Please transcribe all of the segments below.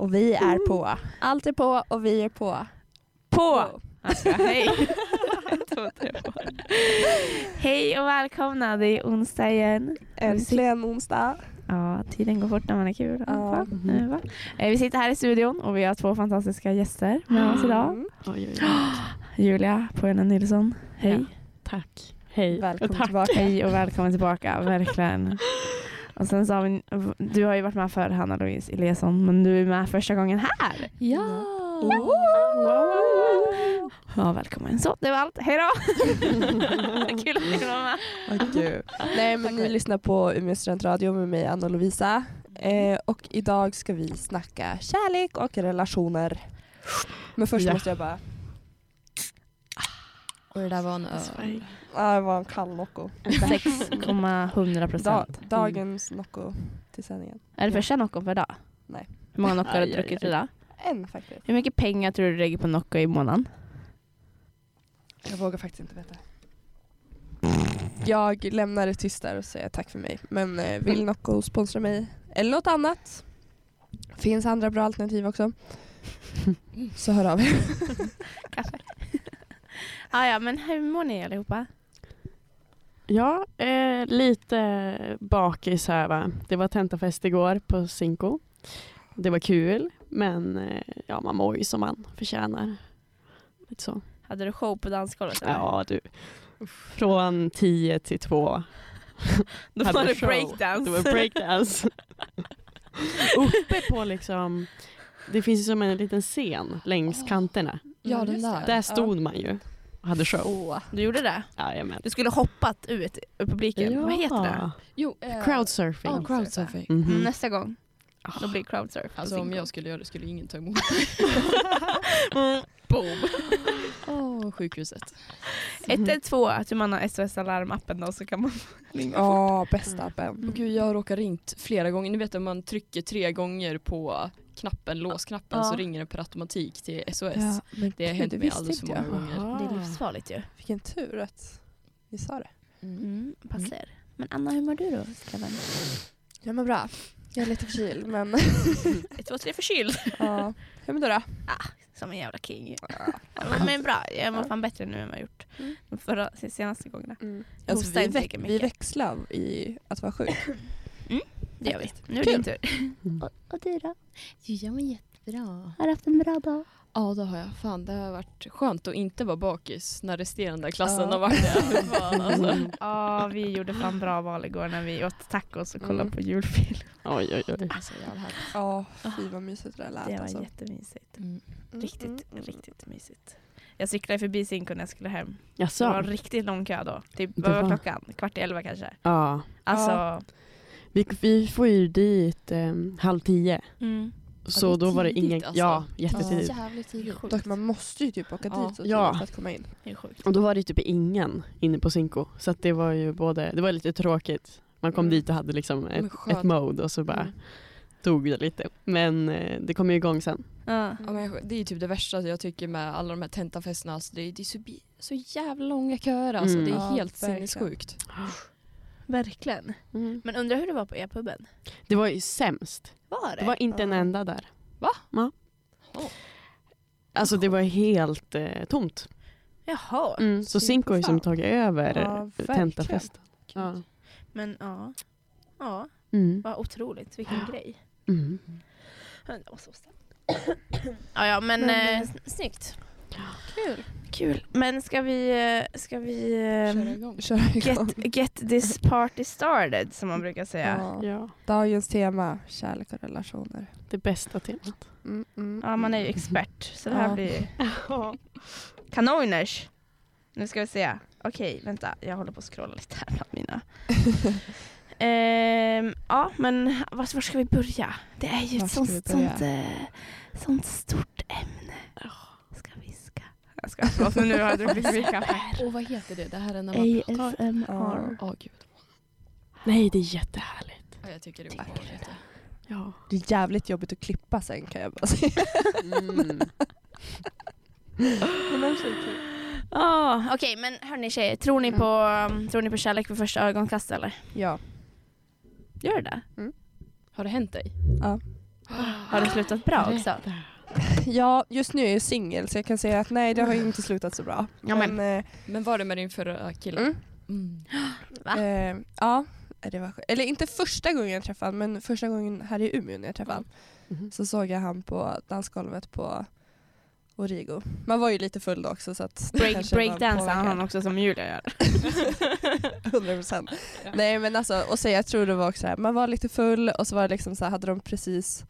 och vi är på. Allt är på och vi är på. På! Alltså, hej. Jag tror inte det var. hej och välkomna, det är onsdag igen. Äntligen onsdag. Ja, tiden går fort när man är kul. i alla Ja. fall. Nu, va? Eh, Vi sitter här i studion och vi har två fantastiska gäster med oss idag. Mm. Oj, oj, Julia Pojona Nilsson, hej. Tack. Hej. Välkommen Tack. tillbaka. Hej och välkommen tillbaka, verkligen. Och sen så har vi, du har ju varit med förr Hanna-Louise Eliasson, men du är med första gången här. Ja! Mm. Ja, välkommen. Så, det var allt. Hej då! Kul att ni var med. Nej men ni lyssnar på Umeå studentradio med mig Anna Lovisa. Eh, och idag ska vi snacka kärlek och relationer. Men först Ja. måste jag bara, Och det där var en öl. ah, det var en kall Nocco. 6,100 Da, procent. dagens Nocco till sändningen. Är det första Nocco per dag? Nej. Hur många Nocco har Aj, du aj, druckit aj. idag? En faktiskt. Hur mycket pengar tror du du lägger på Nocco i månaden? Jag vågar faktiskt inte veta. Mm. Jag lämnar det tyst där och säger tack för mig. Men eh, vill Nocco sponsra mig eller något annat? Finns andra bra alternativ också. Så hör av er. Ah, ja, men hur mår ni allihopa? Ja, eh, lite bakis här va. Det var tentafest igår på Cinco. Det var kul, men eh, ja, man mår ju som man förtjänar. Lite så. Hade du show på dansgolvet? eller? Ja, du. Från 10 till 2. Då hade var det show. breakdance. Det var breakdance. Uppe på liksom, det finns ju som en liten scen längs kanterna. Ja, den där. Där stod man ju och hade show. Åh. Du gjorde det? Jajamän. Du skulle hoppat ut ur publiken. Vad heter det? Jo, eh, Crowdsurfing. Ja, crowdsurfing. Mhm. Mm, Ah. Nästa gång. Då blir det crowdsurf. Alltså om jag skulle göra det skulle ingen ta emot. Mm, Boom. Åh, sjukhuset. 112, att man har SOS Alarm-appen då så kan man ringa fort. Ja, bästa appen. Åh, Mm. Gud, jag har råkat ringt flera gånger. Ni vet om man trycker tre gånger på knappen, låsknappen Ja. så ringer det per automatik till SOS. men Det har gud, hänt mig visste alldeles för inte många jag. gånger. Det är livsfarligt ju. Vilken tur att ni sa det. Mm, passar. Men Anna, hur mår du då? Skräven? Jag mår bra. Jag är lite förkyld men Ett, två, tre förkyld. ja. Hur mår du då? Som en jävla king. Men, men bra, jag mår fan bättre nu än vad jag gjort Mm. de förra, de senaste gångerna. Alltså, Hostar vi, inte väx- lika mycket. vi växlar i att vara sjuk. Mm. Det gör vi. Nu är det din tur. Och du då? Jo, jag mår jättebra. Har du haft en bra dag? Ja, det har jag. Fan, det har varit skönt att inte vara bakis när resterande av klassen Ja. har varit det. Fan, alltså. Ja, vi gjorde fan bra val igår när vi åt tacos och kollade Mm. på julfilm. Oj, oj, oj. alltså, jag har haft... Ja, fy vad mysigt det där lät Ah. Det var alltså. jättemysigt. mm. Mm, Riktigt, mm. riktigt mysigt. Jag cyklade förbi Zinco när jag skulle hem. Det var Jaså? en riktigt lång kö då. Typ, Det vad var var- klockan? Kvart i elva kanske. Ja. Alltså, Vi, vi får ju dit eh, halv tio. mm. Så det är då var det tidigt, ingen... alltså. Ja, Ja. jättetidigt. Jävligt tidigt. Dock, man måste ju typ åka Ja. dit så Ja. tidigt för att komma in. det är sjukt. Och då var det typ ingen inne på Cinco. Så att det var ju både... Det var lite tråkigt. Man kom Mm. dit och hade liksom ett, skönt. ett mode och så bara Mm. tog det lite. Men eh, det kom ju igång sen. Ja. Ja, men jag- det är ju typ det värsta jag tycker med alla de här tentafesterna. Alltså, det, är, det är så, bi- så jävla långa köer alltså. Mm. Det är Ja, helt verkligen. sinnessjukt. Verkligen. Men undrar hur det var på e-puben? Det var ju sämst. Var det? Det var inte en enda där. Va? Ja. Åh. Alltså det var helt eh, tomt. Jaha. Mm. Så Cinco har ju som Fan. tagit över Ja, ja, verkligen. tentafesten. Ja. Men ja. Ja, Mm. vad otroligt. Vilken grej. Mm. Ja, det var så starkt. ja, ja, men, Men, eh, snyggt. Kul. Kul. Men ska vi... eh, Ska vi eh, Ehm, Köra igång. Kör igång. get, get this party started, som man brukar säga. Ja, Ja. Ja, Dagens tema, kärlek och relationer. det bästa temat. Mm, mm, man är ju mm. expert. Så det här Ja. blir kanoners. Nu ska vi se. Okej, vänta. Jag håller på att scrolla lite här bland mina. Ehm, ja, men var, var ska vi börja? Det är ju Var ett ska sånt, vi börja? sånt, eh, sånt stort ämne. Ska viska. Jag ska förlåt, men nu har jag druckit för mycket kaffe. Och vad heter det? Det här är när man... ASMR. Ja, gud. Nej, det är jättehärligt. Ja, jag tycker det är Tycker obehagligt. Ja. Det är jävligt jobbigt att klippa sen kan jag bara säga. Mm. Oh, Okej, men hörni tjejer, tror ni, på, tror ni på kärlek vid första ögonkast eller? Ja. Gör det? Har det hänt dig? Har det slutat bra också? Ja, just nu är jag singel så jag kan säga att nej det har ju inte slutat så bra. Ja, men- eh, Men var det med din förra kille? Mm. Mm. Va? eh, ja, det var skönt. Eller inte första gången jag träffade honom men första gången här i Umeå när jag träffade honom. Mhm. Så såg jag han på dansgolvet på Origo. Man var ju lite full då också så att det Break, kanske var breakdansar påverkan. han också som Julia gör. 100 procent. Nej men alltså, och så jag tror det var också här, man var lite full och så var det liksom så här, hade de precis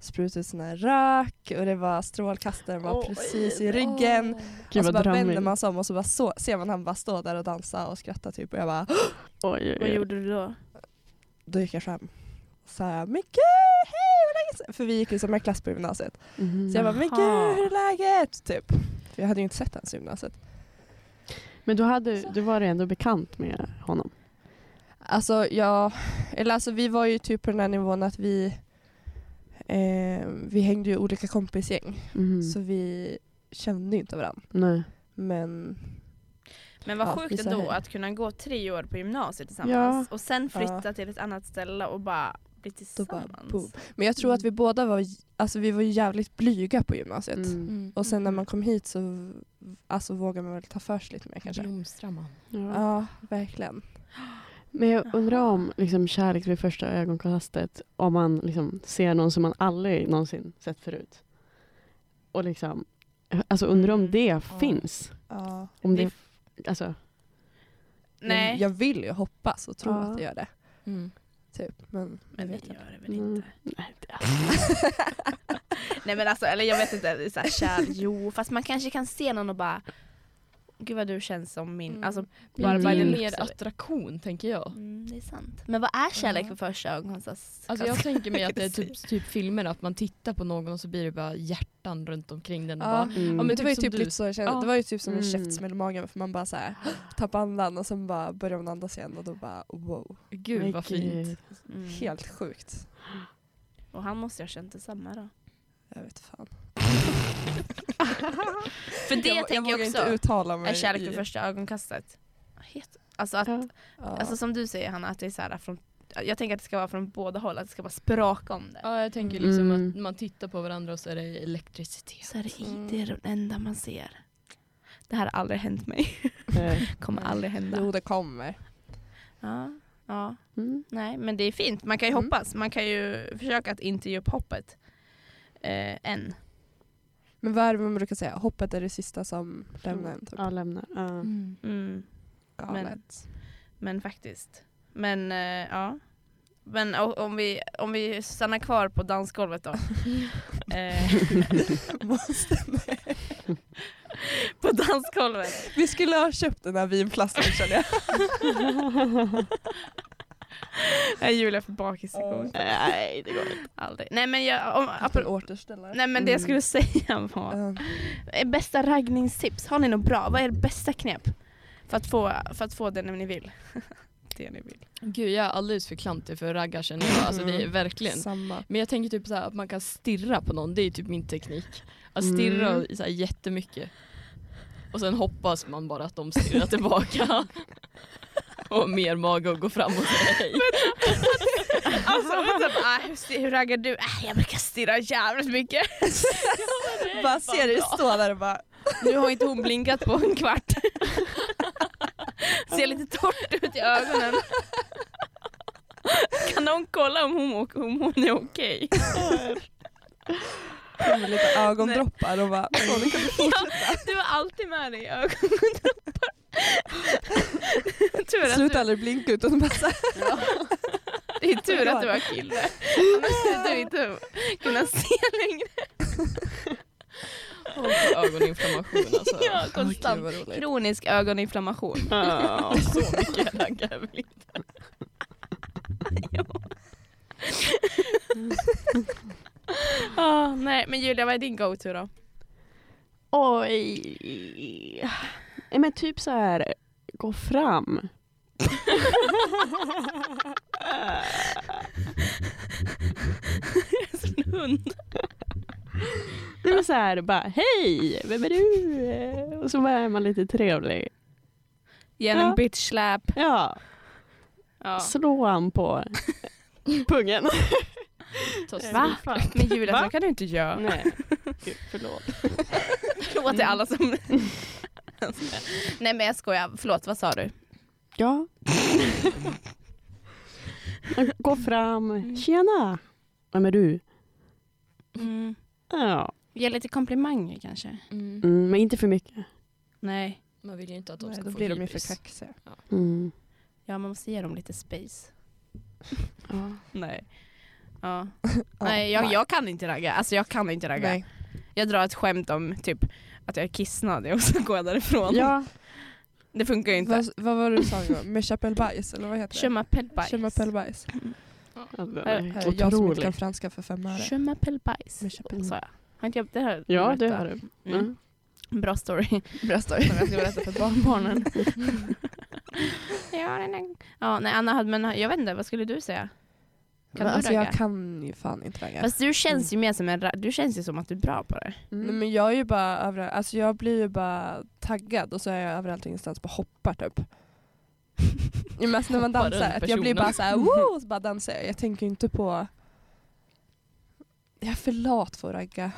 sprutat sina rök och det var strålkastaren var Oj. precis i ryggen. Gud och så vad Alltså, bara vänder drömmigt. man sig om och så bara så, ser man han bara stå där och dansa och skratta typ och jag bara Oj, Vad oj, oj. gjorde du då? då gick jag fram. Så här, men gud, hej hur är läget? För vi gick ju samma klass på gymnasiet. Mhm. Så jag bara, men Jaha. gud hur är läget? Typ. För jag hade ju inte sett hans i gymnasiet. Men du, hade, du var ju ändå bekant med honom. Alltså jag, eller alltså vi var ju typ på den här nivån att vi eh, vi hängde ju i olika kompisgäng Mhm. så vi kände ju inte varandra. Nej. Men Men vad Ja, vi sjukt sa ändå hej. att kunna gå tre år på gymnasiet tillsammans och sen flytta Ja. till ett annat ställe och bara bli då bara tillsammans. boom. Men jag tror att vi båda var, j- alltså vi var ju jävligt blyga på gymnasiet. Mm. Och sen när man kom hit så v- alltså vågade man väl ta för sig lite mer kanske. Blomstrar man. Ja. Ja, verkligen. Men jag undrar om liksom, kärlek vid första ögonkastet, om man liksom, ser någon som man aldrig någonsin sett förut. Och liksom, alltså undrar om det finns. Ja. Om Det- det, alltså, Jag, Nej, jag vill ju hoppas och tro Ja. att det gör det. Mm. Typ. Men, men det jag vet inte. gör det väl Mm. inte. nej, det, Nej men alltså, eller jag vet inte, det är så här, kär, jo fast man kanske kan se någon och bara Gud vad du känns som min, Mm. alltså Bara, bara, det bara är ju Mm. mer attraktion tänker jag. Mm, det är sant. Men vad är kärlek Ja. för första ögonkastet? Alltså jag tänker mig att det är Jag kan typ, typ filmer att man tittar på någon och så blir det bara hjärtan runt omkring den. Och Ja. bara, mm. Ja, men det Typ var ju som typ du. lite så jag kände. Ja. Det var ju typ som en Mm. käftsmäll i magen för man bara så här tappar andan och sen bara börjar man andas igen och då bara wow. gud vad Men fint. gud. Mm. Helt sjukt. Och han måste ju ha känt detsamma då. Jag vet fan. För det jag, jag tänker jag, vågar också inte uttala mig. är kärlek i- vid första ögonkastet. Het- Alltså, att, Ja. Ja. alltså som du säger Hanna, att det är så här från, jag tänker att det ska vara från båda håll, att det ska bara spraka om det. Ja, jag tänker liksom Mm. att man tittar på varandra och så är det elektricitet. Så är det Mm. i det är det enda man ser. Det här har aldrig hänt mig. Nej. kommer aldrig hända. Jo det kommer. Ja, ja. Mm. Nej, men det är fint. Man kan ju Mm. hoppas. Man kan ju försöka att inte ge upp hoppet. Eh, än. Men vad är det man brukar säga? Hoppet är det sista som lämnar en. Typ. Ja, lämnar. Ja. Mm. Mm. Galet. Men faktiskt. Men eh, ja. Men o- om vi, om vi stannar kvar på dansgolvet då. eh, Måste- på dansgolvet. Vi skulle ha köpt den här vinflaskan känner jag. Är Julia för bakis igång? Nej det går inte. Aldrig. Nej men, jag, Mm. om, Apropå apro- återställare. nej, men det jag skulle säga var. Eh, Eh, Bästa raggningstips, har ni något bra? Vad är ert bästa knep? För att få, för att få det ni vill. det ni vill. Gud jag är alldeles för klantig för att ragga känner jag. Alltså Mm. det är verkligen. Samma. Men jag tänker typ så här att man kan stirra på någon, det är typ min teknik. Att stirra Mm. så här jättemycket. Och sen hoppas man bara att de stirrar tillbaka. och mer mage att gå fram och säga hej. Alltså typ, ah, hur, sti- hur raggar du? Ah, jag brukar stirra jävligt mycket. Bara ser dig stå där och bara Nu har inte hon blinkat på en kvart. Ser lite torrt ut i ögonen. Kan någon kolla om hon, om hon är okej? kommer med lite ögondroppar och bara "Åh, nu kan du Ja, du har alltid med dig ögondroppar. Tur att Sluta du, aldrig blinka utan bara så här, det är tur att du var kille. Annars skulle du inte kunna se längre. Och få ögoninflammation alltså. Ja, Gud, konstant. vad roligt. Kronisk ögoninflammation. Ja. Så mycket raggar jag väl inte. Ah, nej, men Julia, vad är din go-to då? Oj. Nej, Men typ så här, gå fram. Som en hund. Det var så här, bara hej, vem är du? Och så bara är man lite trevlig. Ge henne en Ja. bitch slap. Ja, Ja. slå han på pungen. Ta sig Va? Mm. fram. Men Julia, Va? så kan du inte göra. Nej, Gud, förlåt. Förlåt till alla som... Mm. Nej men jag skojar, förlåt vad sa du? Ja. Gå fram. Tjena! Vem är du? Mm. Ja. Ge lite komplimanger kanske? Mm. Mm, men inte för mycket. Nej, Man vill ju inte att de Nej, ska då få blir de ju för hybris. kaxiga. Mm. ja man måste ge dem lite space. Ja. Nej. Ja. Ja, Nej, jag, jag kan inte ragga. Alltså jag kan inte ragga. Nej. Jag drar ett skämt om typ att jag är kissnödig och så går jag därifrån. ja. Det funkar ju inte. Vad, vad var det du sa en gång? Mechapelbajs eller vad heter det? Chumapelbajs. Chumapelbajs. ja, den Här- är Här, Jag som inte kan Otrolig. franska för fem öre. Chumapelbajs. Chumapelbajs. Sa jag. Har inte jag det här? Ja, det berättat? har du. Mm. Mm. Bra story. Bra story. Som jag ska berätta för barnbarnen. Mm. ja, den är... ja, nej Anna hade, men jag vet inte, vad skulle du säga? Kan Men du alltså ragga? jag kan ju fan inte ragga. Fast du känns Mm. ju mer som en ra- du känns ju som att du är bra på det. Nej, men jag är ju bara överallt, alltså jag blir ju bara taggad och så är jag överallt och ingenstans bara hoppar typ. Ja, men alltså när man Hoppar dansar, runt att jag blir personen. bara såhär woo, och så bara dansar jag. Jag tänker ju inte på... Jag är för lat för att ragga.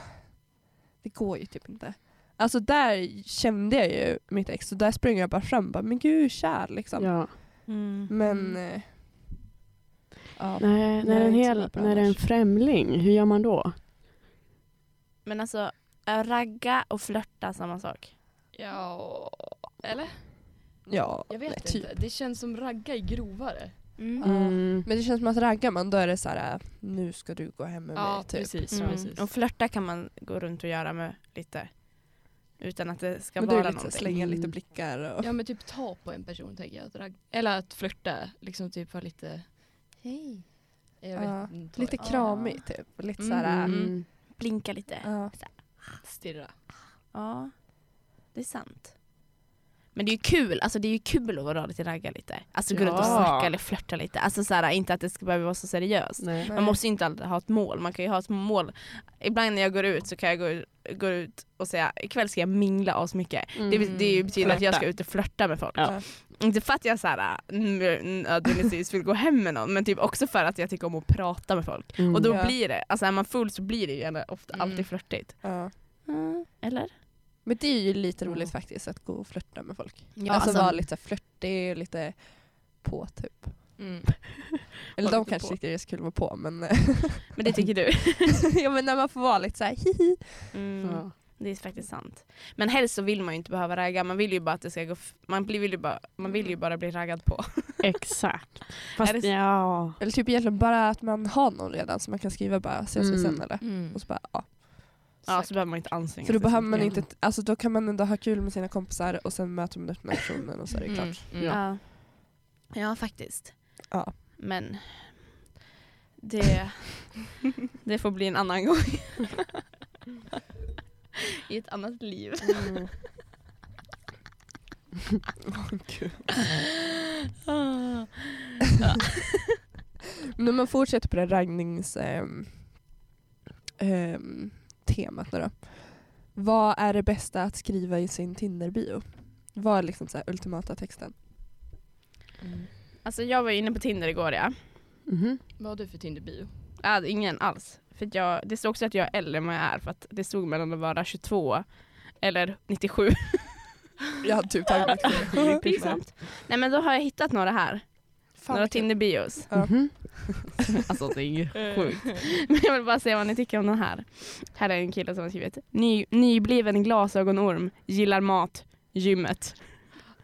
Det går ju typ inte. Alltså där kände jag ju mitt ex och där sprang jag bara fram bara men gud kär liksom. Ja. Mm. Men... eh, Ja. Nej, Nej, när, en inte hel, så bra när det är en annars. främling, hur gör man då? Men alltså, är ragga och flörta samma sak? Ja, eller? ja. Jag vet nej, typ. inte. Det känns som ragga är grovare. Mm. Ja. Mm. Men det känns som att raggar man då är det så här "Äh, nu ska du gå hem med mig typ. precis. Mm. precis. Och flörta kan man gå runt och göra med lite utan att det ska Men då är vara det lite någonting. slänga lite Mm. blickar och... Ja men typ ta på en person tänker jag. Att ragg... Eller att flirta, liksom typ vara lite hej. Jag vet Ja, inte. Lite Ja. kramig typ. Lite Mm. såhär... Mm. Blinka lite. Ja. ja. Stirra. det är sant. Men det är ju kul, alltså det är ju kul att vara lite ragga lite. Alltså gå Ja. runt och snacka eller flörta lite. Alltså så här, inte att det ska behöva vara så seriöst. Nej. Man måste ju inte alltid ha ett mål, man kan ju ha ett mål. Ibland när jag går ut så kan jag gå, ut- gå ut och säga ikväll ska jag mingla asmycket. Det, Mm. be- det betyder att jag ska Flörta. ut och flörta med folk. Ja. Inte för att jag så här, äh, nödvändigtvis vill gå hem med någon men typ också för att jag tycker om att prata med folk. Mm. Och då Ja. blir det, alltså är man full så blir det ju gärna ofta Mm. alltid flörtigt. Ja. Eller? Men det är ju lite roligt Mm. faktiskt att gå och flörta med folk. Ja, alltså, alltså- vara lite flörtig och lite på typ. Mm. Eller Vara de lite kanske på. tycker det är så kul att vara på men... Men det tycker du? ja men när man får vara lite såhär hihi. Ja. Mm, Det är faktiskt sant. Men helst så vill man ju inte behöva ragga, man vill ju bara att det ska gå, f- man, blir, vill ju bara, man vill ju bara bli raggad på. Exakt. Fast, Är det- ja. Eller typ egentligen bara att man har någon redan så man kan skriva bara ses vi Mm. sen eller? Och så bara ja. Ja, så behöver man inte anstränga För då sig så behöver man mycket. inte, alltså då kan man ändå ha kul med sina kompisar och sen möter man upp den här personen och så är det klart. Mm. Mm. Ja. Ja. ja, faktiskt. Ja. Men det, det får bli en annan gång. I ett annat liv. Mm. Ah. Men om man fortsätter på det här raggnings ehm, ehm, temat nu då. Vad är det bästa att skriva i sin Tinder-bio? Vad är liksom så här ultimata texten? Mm. Alltså jag var inne på Tinder igår ja. Mhm. Vad har du för Tinder-bio? Jag hade ingen alls. För att jag, det stod också att jag är äldre än vad jag är för att det stod mellan att vara 22 eller 97. Jag hade typ tagit Pinsamt. Nej men då har jag hittat några här. några Tinder-bios. Ja. Mhm. Alltså det är ju Eh, sjukt. Men jag vill bara se vad ni tycker om den här. Här är en kille som har skrivit. Ny, nybliven glasögonorm, gillar mat, gymmet.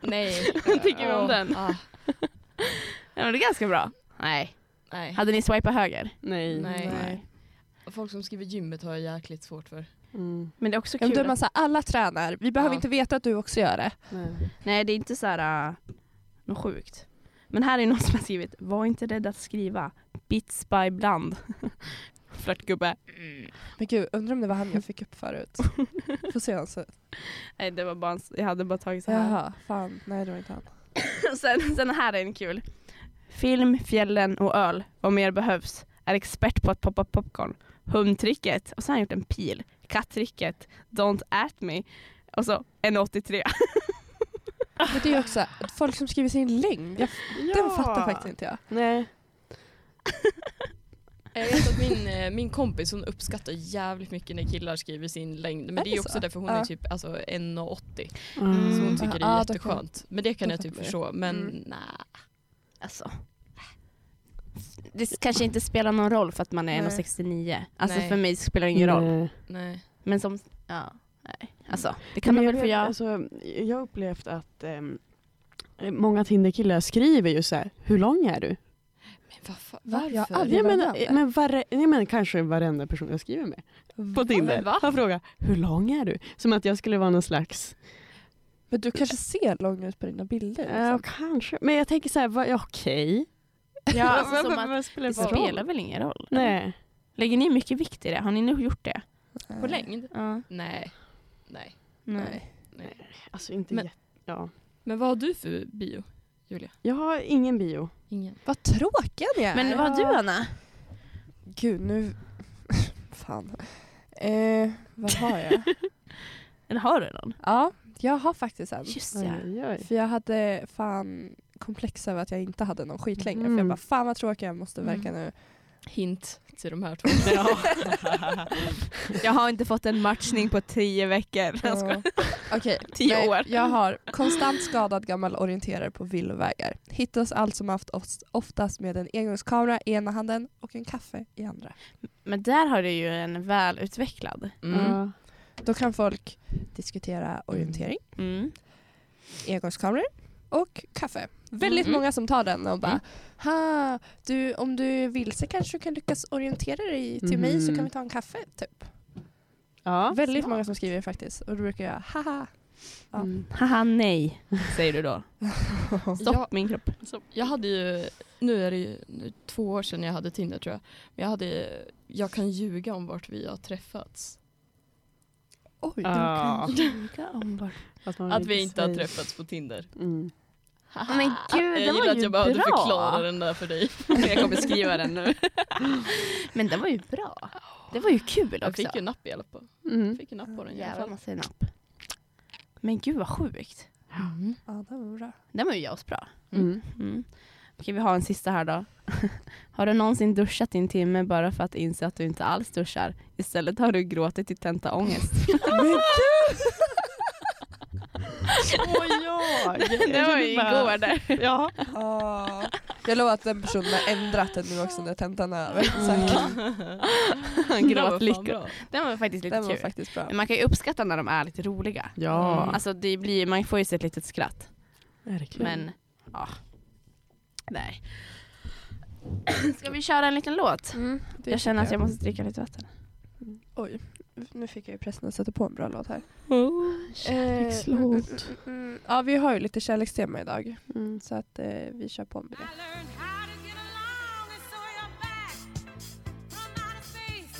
Nej. Vad tycker vi om Åh, den? Ah, Ja, men det är ganska bra. Nej. nej. Hade ni swipat höger? Nej. Nej. Nej. Folk som skriver gymmet har jag jäkligt svårt för. Mm. Men det är också Ja, men kul. då är man så här, alla tränar, vi behöver Ja. inte veta att du också gör det. Nej. att- Nej det är inte så här äh, något sjukt. Men här är någon som har skrivit. Var inte rädd att skriva. Bits by bland. Flörtgubbe. Men gud, undrar om det var han jag fick upp förut. Får se han så. Nej det var bara, en s- jag hade bara tagit så här. Jaha, fan. Nej det var inte han. sen, sen här är en kul. Film, fjällen och öl. Vad mer behövs? Är expert på att poppa popcorn. Humtricket. Och så har han gjort en pil. Kattricket. Don't at me. Och så en 83. Men det är ju också folk som skriver sin längd, jag, den fattar faktiskt inte jag. Nej. Jag vet att min, eh, min kompis hon uppskattar jävligt mycket när killar skriver sin längd. Men Är det är ju det också så? därför hon Ja. är typ alltså, 1,80. Mm. Så Mm. hon tycker det är Ja, då kan- jätteskönt. Men det kan då jag typ fattar jag. förstå. Men Mm. nej. Alltså. Det kanske inte spelar någon roll för att man är Nej. 1,69. Alltså Nej. för mig spelar det ingen roll. Nej. nej. Men som, ja, nej. Alltså, det kan man Men väl jag få vet, göra. Alltså, jag har upplevt att ehm, många Tinderkillar skriver ju så här, hur lång är du? Men varför? Va? Jag har varför? aldrig- Jag menar, eh, varandra. men, varje, jag menar kanske varenda person jag skriver med på Tinder va? har frågat, hur lång är du? Som att jag skulle vara någon slags Men du kanske ser lång ut på dina bilder. Ja, liksom. eh, kanske. Men jag tänker så här, vad, ja, okej. Ja, alltså, Vad- som vad- att vad spelar det det för spelar roll? väl ingen roll? Nej. Lägger ni mycket vikt i det? Har ni nu gjort det? Eh. På längd? Ja. Nej. Nej. Nej. Alltså inte Men- jätte... Ja. Men vad har du för bio, Julia? Jag har ingen bio. Ingen. Vad tråkiga ni är. Men vad har du Anna? Gud, nu... Fan. Eh, vad har jag? Eller har du någon? ja, jag har faktiskt en. Just Oj, ja. oj, oj. För jag hade fan komplex över att jag inte hade någon skit längre. För Mm. jag bara, fan vad tråkig jag måste Mm. verka nu. Hint till de här två. Jag har inte fått en matchning på tio veckor. Ja. Okej, Tio nej, år. jag har konstant skadad gammal orienterare på villovägar. Hittas allt som haft oss- oftast med en engångskamera i ena handen och en kaffe i andra. Men där har du ju en välutvecklad. Mm. Ja. Då kan folk diskutera orientering, Mm. engångskameror och kaffe. Väldigt Mm. många som tar den och bara Mm. ha, du, om du är vilse kanske du kan lyckas orientera dig till mig så Mhm. kan vi ta en kaffe. Typ. ja. Väldigt många som skriver faktiskt och då brukar jag haha. Ja. Mm. Haha nej, säger du då. Stopp Jag- min kropp. Jag hade ju, nu är det ju nu, två år sedan jag hade Tinder tror jag. Men jag hade, jag kan ljuga om vart vi har träffats. Oj. Ja. ljuga om vart. man Att vill vi inte har säga- träffats på Tinder. Mm. Men gud, jag det var gillar att ju jag behövde bra. förklara den där för dig. Jag kommer skriva den nu. Men det var ju bra. Det var ju kul Jag också. fick ju napp i alla fall. Mm. Jag fick ju napp på den i alla Jävlar fall. massa napp. Men gud vad sjukt. Ja, det var bra. Den var ju asbra. Mm. Mm. Okej vi har en sista här då. har du någonsin duschat i en timme bara för att inse att du inte alls duschar? Istället har du gråtit i tentaångest. Åh ja! det var ju igår där. Ja. Ah. Jag lovar att den personen har ändrat det nu också när tentan är över. Säkert. Gråtlyckor. bra. Den var faktiskt lite Den var kul. faktiskt bra. Men man kan ju uppskatta när de är lite roliga. Ja. Mm. Alltså det blir, man får ju sig ett litet skratt. Verkligen. Men ja. Nej. Ska vi köra en liten låt? Mm. Jag känner att jag måste dricka lite vatten. Oj, nu fick jag ju pressen att sätta på en bra låt här. Kärlekslåt. Mm. Ja, vi har ju lite kärlekstema idag. Mm. Så att eh, vi kör på med det. I learned how to get along and saw your back from outer space.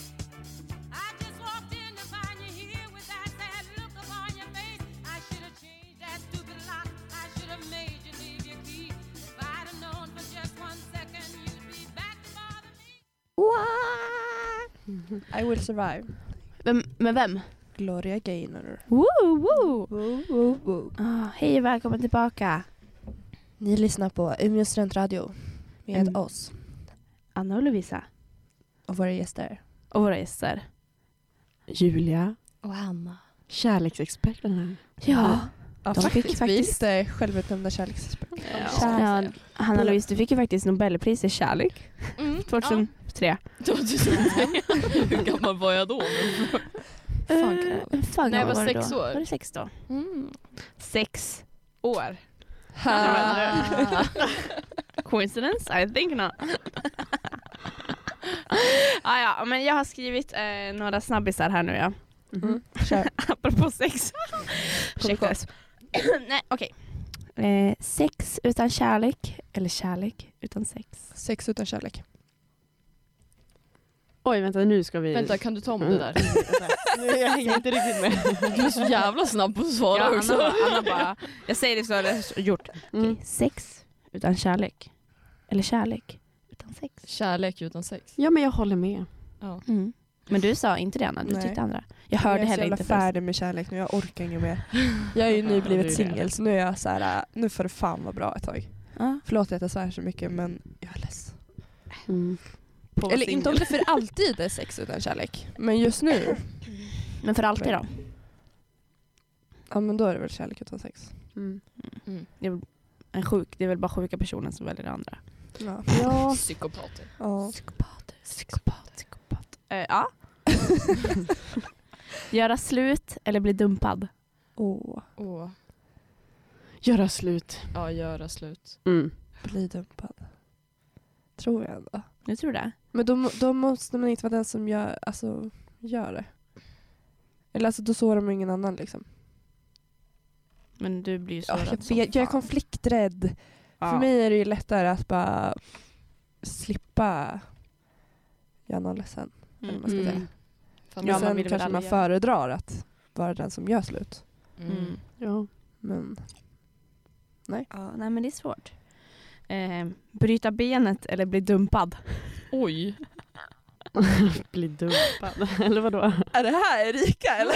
I just walked in to find you here with that sad look upon your face. I should have changed that stupid lock. I should have made you leave your key. If I'd have known for just one second you'd be back to bother me. I will survive. Vem, med vem? Gloria Gaynor. Woo, woo. Ah, hej och välkommen tillbaka. Ni lyssnar på Umeå studentradio med Mm. oss Anna och Lovisa. och våra gäster. Och våra gäster. Julia, Och Anna. kärleksexperten här. Ja. Ja, De fick faktiskt. Vi är faktiskt- lite självutnämnda kärleksexperter. ja. Hanna Louise, du fick ju faktiskt Nobelpris i kärlek Mm, 2003. Ja. 2003. Hur gammal var jag då? Fan, kan eh, fan Nej, Mm. gammal jag var du sex då? år. Var du sex då? Mm. Sex år. Ah. Ha. Coincidence? I think not. ah, ja, men jag har skrivit eh, några snabbisar här nu ja. Mm. Kör. Apropå sex. Ursäkta. Nej, okej. Eh, sex utan kärlek eller kärlek utan sex? Sex utan kärlek. Oj, vänta nu ska vi... Vänta, kan du ta om det där? jag hänger inte riktigt med. Du är så jävla snabb på att svara Ja, Anna, också. bara- Anna bara, jag säger det så har jag gjort. Mm. Sex utan kärlek eller kärlek utan sex? Kärlek utan sex. Ja, men jag håller med. Mm. Men du sa inte det Anna, du Nej. tyckte andra. Jag hörde jag är så heller jävla inte först. färdig med kärlek nu, jag orkar inget mer. Jag är ju Ja, nu det blivit är det. singel så nu är jag så här, äh, nu får det fan vara bra ett tag. Ja. Förlåt att jag svär så mycket men jag är less. Mm. på Eller inte om det för alltid är sex utan kärlek. Men just nu, Men för alltid då? ja men då är det väl kärlek utan sex. Mm. Det är, väl en sjuk, det är väl bara sjuka personer som väljer det andra. Ja. Ja. Psykopater. ja. Psykopater, psykopater, psykopater. Eh, ja. Göra slut eller bli dumpad? Åh, Åh, Göra slut. ja göra slut. Mm. bli dumpad. Tror jag ändå. Jag tror det. Men då, må- då måste man inte vara den som gör, alltså, gör det. Eller alltså, då sårar man ingen annan liksom. Men du blir ju Ja, sårad jag, som vet, jag är fan. konflikträdd. Ja. För mig är det ju lättare att bara slippa göra någon ledsen. Eller vad man ska Mm. säga. Ja, Fattar. Men man sen vill väl kanske alla man göra. föredrar att vara den som gör slut. Mm. Ja. Men Ja, nej men det är svårt. Eh, bryta benet eller bli dumpad? Oj. Bli dumpad. Eller vadå? är det här Erika eller?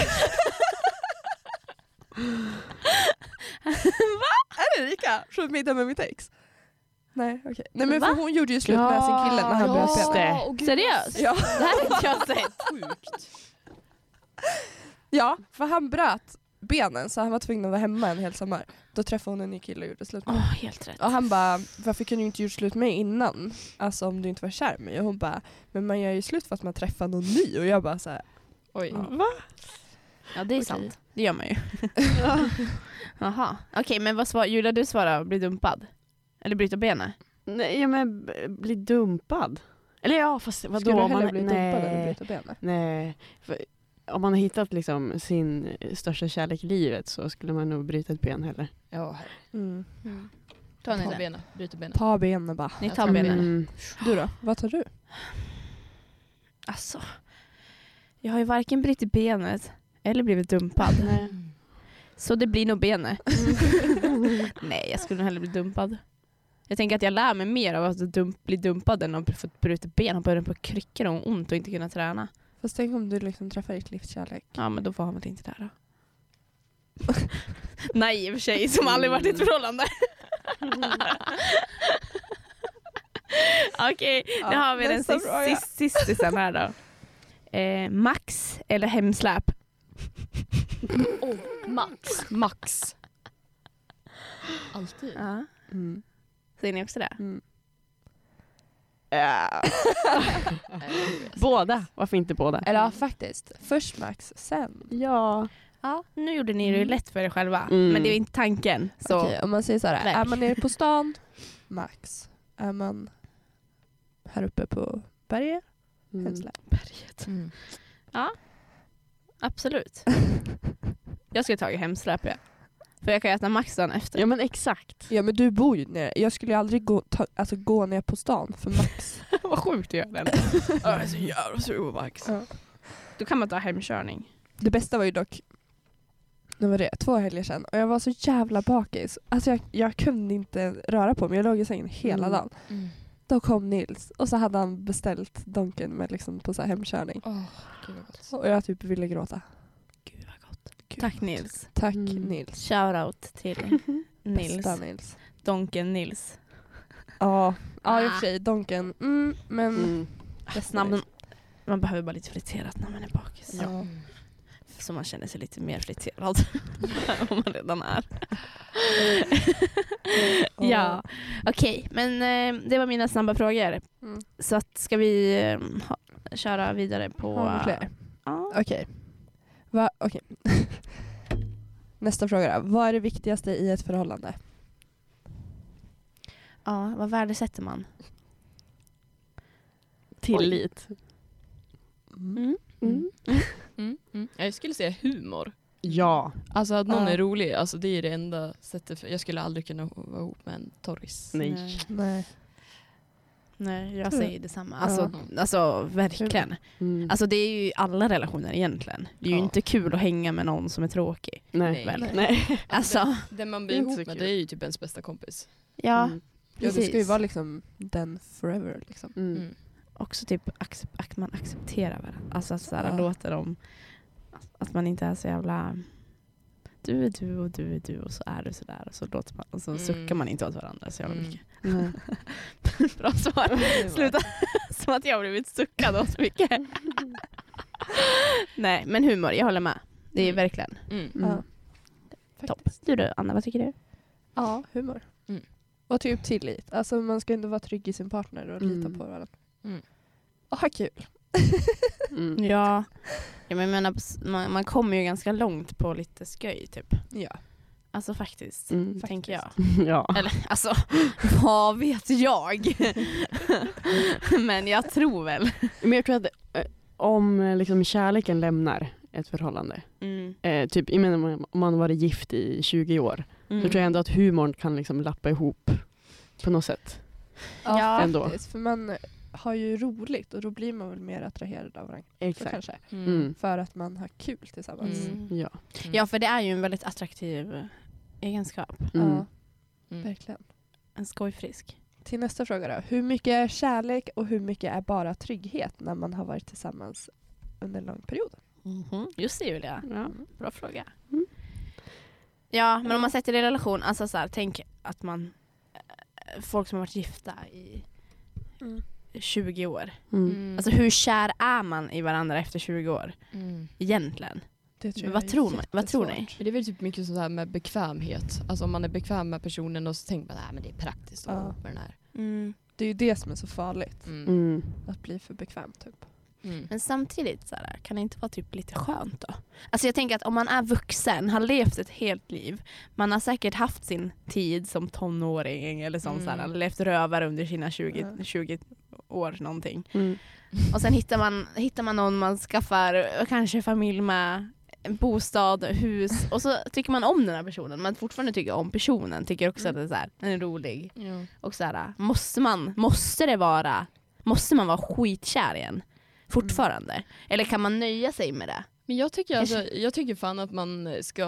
Är det Erika? Från middag med mitt ex? Nej okej. Nej men för Va? hon gjorde ju slut med Ja, alltså, sin kille när han ja. bröt Just benet. det. åh gud, Seriöst? Ja. Det här har inte jag sett. Sjukt. Ja, för han bröt benen så han var tvungen att vara hemma en hel sommar. Då träffade hon en ny kille och gjorde slut med honom. helt rätt. Och han bara, varför kunde du inte gjort slut med mig innan? Alltså om du inte var kär i mig. Och hon bara, men man gör ju slut för att man träffar någon ny. Och jag bara så här, Oj. Ja. Ja det är sant. Det gör man ju. Jaha. Okej men vad svar, Julia du svarar bli dumpad? Eller bryta benet? Nej ja, men b- bli dumpad. Eller ja fast vadå? skulle du om hellre man- bli nej. dumpad än att bryta benet? Nej. För, om man har hittat liksom sin största kärlek i livet så skulle man nog bryta ett ben heller. Ja, Mm. Ta ni ta den. benen. Bryter benen. Ta benen bara. Ni Jag tar tar benet. Mm. Du då? Vad tar du? Alltså. Jag har ju varken brutit benet eller blivit dumpad. Nej. Så det blir nog benet. Mm. Nej jag skulle nog hellre bli dumpad. Jag tänker att jag lär mig mer av att dump, bli dumpad än att få ett brutet ben. Hoppa runt på kryckor och ont och inte kunna träna. Fast tänk om du liksom träffar ditt livs kärlek. Ja men då får han väl inte det här då. Naiv tjej som aldrig varit i Mm. ett förhållande. Okej, nu Ja, har vi den nästa sist, fråga. sist, sista här då. Eh, max eller hemsläp? Oh, Max. Max. Alltid. Ja. Mm. Säger ni också det? Båda. Varför inte båda? Eller ja, faktiskt. Först Max, sen. Ja. Ja, nu gjorde ni det ju lätt för er själva. Mm. Men det är ju inte tanken. Så. Okej, om man säger så här, Verk. är man nere på stan, Max. Är man här uppe på berget, Mm. Hemsläpp. Mm. Absolut. Jag skulle tagit hemsläp ja. För jag kan äta max dagen efter. Ja men exakt. Ja men du bor ju nere. Jag skulle ju aldrig gå, ta, alltså, gå ner på stan för Max. Vad sjukt du gör den. jag är så jävla sur på max. Ja. Då kan man ta hemkörning. Det bästa var ju dock, det var det, två helger sedan och jag var så jävla bakis. Alltså jag, jag kunde inte röra på mig, jag låg i sängen hela Mm. dagen. Mm. Då kom Nils och så hade han beställt Donken med liksom på så här hemkörning. Åh, gud vad gott. Och jag typ ville gråta. Gud vad gott. Tack Nils. Tack Mm. Nils. Shoutout till Nils. Bästa Nils. Donken Nils. Ja, ja i och för sig Donken, mm, men Mm. bästa Namnen, Nils. man behöver bara lite friterat när man är bakis. Ja. Mm. Så man känner sig lite mer friterad än vad man redan är. ja, okej. Men eh, det var mina snabba frågor. Mm. Så att, ska vi eh, ha, köra vidare på... Har vi fler? Ja. Okej. Va- Okej. Nästa fråga då. Vad är det viktigaste i ett förhållande? ja, vad värdesätter man? Tillit. Mm. Mm. Mm. Jag skulle säga humor. Ja. Alltså att någon Ja. är rolig, alltså det är det enda sättet. För jag skulle aldrig kunna vara ihop med en torris. Nej. Nej. Nej, jag Tror jag. säger detsamma. Alltså, Ja. alltså verkligen. Mm. Alltså det är ju i alla relationer egentligen. Det är ju Ja. inte kul att hänga med någon som är tråkig. nej. Nej. Nej. Väl? nej. Alltså, Den man blir Inte så ihop med kul. det är ju typ ens bästa kompis. ja. Mm. Ja, det Precis. ska ju vara liksom den forever. Liksom. Mm. Mm. Också typ accep- att man accepterar varandra. Alltså att såhär, Ja. låter dem, att man inte är så jävla du är du och du är du och så är du sådär och så, låter man, och så Mm. suckar man inte åt varandra så jävla Mm. mycket. Bra svar. Sluta. Som att jag har blivit suckad åt så mycket. Nej, men humor, jag håller med. Det är Mm. verkligen Mm. Ja. topp. Du då, Anna, vad tycker du? Ja, humor. Mm. Och typ tillit. Alltså man ska inte vara trygg i sin partner och lita Mm. på varandra. Mm. Och ha kul. Mm. Ja. ja men jag menar, man, man kommer ju ganska långt på lite sköj typ. Ja. Alltså faktiskt, Mm. tänker jag. Ja. Eller alltså, vad vet jag? men jag tror väl. Men jag tror att eh, om eh, liksom, kärleken lämnar ett förhållande, Mm. eh, typ, jag menar, om man har varit gift i 20 år, Mm. då tror jag ändå att humorn kan liksom lappa ihop på något sätt. Ja, Ja. Ändå. faktiskt. För man har ju roligt och då blir man väl mer attraherad av varandra. Exakt. Kanske. Mm. För att man har kul tillsammans. Mm. Ja. Ja, för det är ju en väldigt attraktiv egenskap. Mm. Ja, Mm. verkligen. En skojfrisk. Till nästa fråga då. Hur mycket är kärlek och hur mycket är bara trygghet när man har varit tillsammans under en lång period? Mhm. Just det Julia, Ja. bra fråga. Mm. Ja, men om man sätter det i relation, alltså så här, tänk att man, eh, folk som har varit gifta i Mm. 20 år. Mm. Alltså hur kär är man i varandra efter 20 år Mm. egentligen? Det Men vad är tror man- vad tror ni? jättesvårt. Men det är väl typ mycket så här med bekvämhet. Alltså om man är bekväm med personen och så tänker man att det är praktiskt att vara Ja. ihop med den här. Det är ju det som är så farligt. Mm. Mm. Att bli för bekväm typ. Mm. Men samtidigt så här, kan det inte vara typ lite skönt då? Alltså jag tänker att om man är vuxen, har levt ett helt liv, man har säkert haft sin tid som tonåring eller som Mm. så här, levt rövare under sina 20, Ja. 20 år någonting. Mm. Och sen hittar man, hittar man någon man skaffar eh, kanske familj med, en bostad, hus och så tycker man om den här personen men fortfarande tycker om personen, tycker också att det är så här, den är rolig. Ja. Och så här, måste man, måste det vara, måste man vara skitkär igen? Fortfarande? Eller kan man nöja sig med det? Men jag tycker, Kanske- alltså, jag tycker fan att man, ska,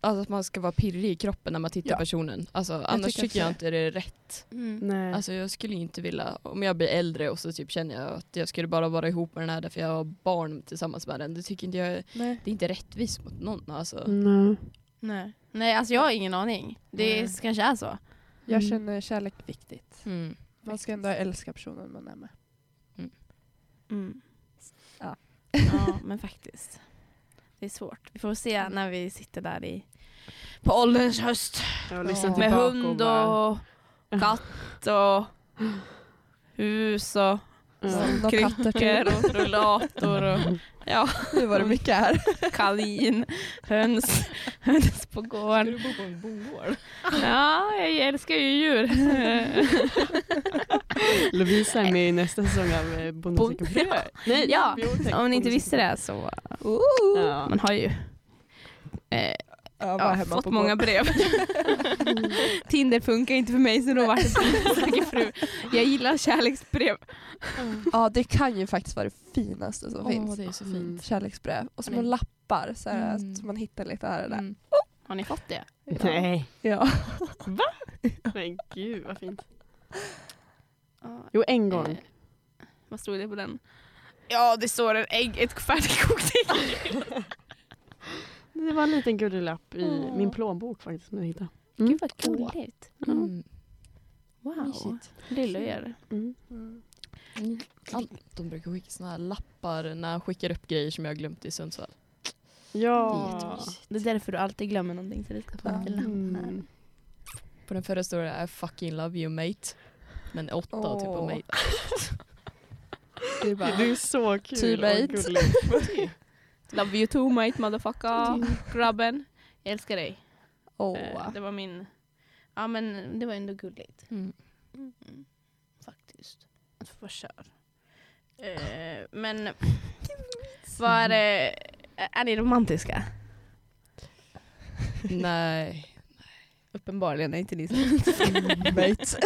alltså att man ska vara pirrig i kroppen när man tittar Ja. på personen. Alltså, annars tycker tycker, också jag det. inte det är rätt. Nej. Alltså, jag skulle inte vilja, om jag blir äldre och så typ känner jag att jag skulle bara vara ihop med den här därför jag har barn tillsammans med den. Det tycker inte jag är- Nej. det är inte rättvist mot någon. Alltså. Nej. Nej. Nej, alltså jag har ingen aning. Det Nej. kanske är så. Jag Mm. känner kärlek viktigt. Mm. Man ska ändå älska personen man är med. Ja. ja, men faktiskt. Det är svårt. Vi får se när vi sitter där i, på ålderns höst. Jag lyssnar lyssnar tillbaka Med hund och katt och hus och Någon Mm. katter kryckor till. och rullator och ja, Nu var det mycket här. kanin, höns, höns på gården. bo på en bondgård? Ja, jag älskar ju djur. Lovisa är med i nästa säsong av eh, Bonde Bonde- söker fru. Nej, Ja, jo, tack. Om ni inte Bonde visste söker det så, Ja. man har ju eh, Ja, ja, fått många brev. Tinder funkar inte för mig så då vart det Bonde söker fru. Jag gillar kärleksbrev. Ja, det kan ju faktiskt vara det finaste som Åh, finns. det är så fru. Mm. fint. Kärleksbrev och små Mm. lappar så här, Mm. som man hittar lite här och där. Mm. Har ni fått det? Nej. Ja. Men gud vad fint. Jo, en gång. Eh, Vad stod det på den? Ja, det står en ägg, ett färdigkokt ägg. Det var en liten gullig lapp i Åh. min plånbok faktiskt. Som jag hittade. Gud vad gulligt. Mm. Wow. Mysigt. Lilla er. Mm. Mm. Anton brukar skicka såna här lappar när han skickar upp grejer som jag har glömt i Sundsvall. Det är Ja. jättemysigt. Det är därför du alltid glömmer någonting så du ska få Ja. lite lappar. Mm. På den förra står det I fucking love you mate. Men åtta Åh. typ av mig. Det är bara, Det är så Two Typ kul mate. och gulligt. Love you too mate motherfucker. Grabben. Jag älskar dig. åh. Eh, Det var min... Ja men det var ändå gulligt. Mm. Mm. Faktiskt. Att få vara kär. Eh, Men vad är det... Är ni romantiska? Nej. Uppenbarligen är inte ni så.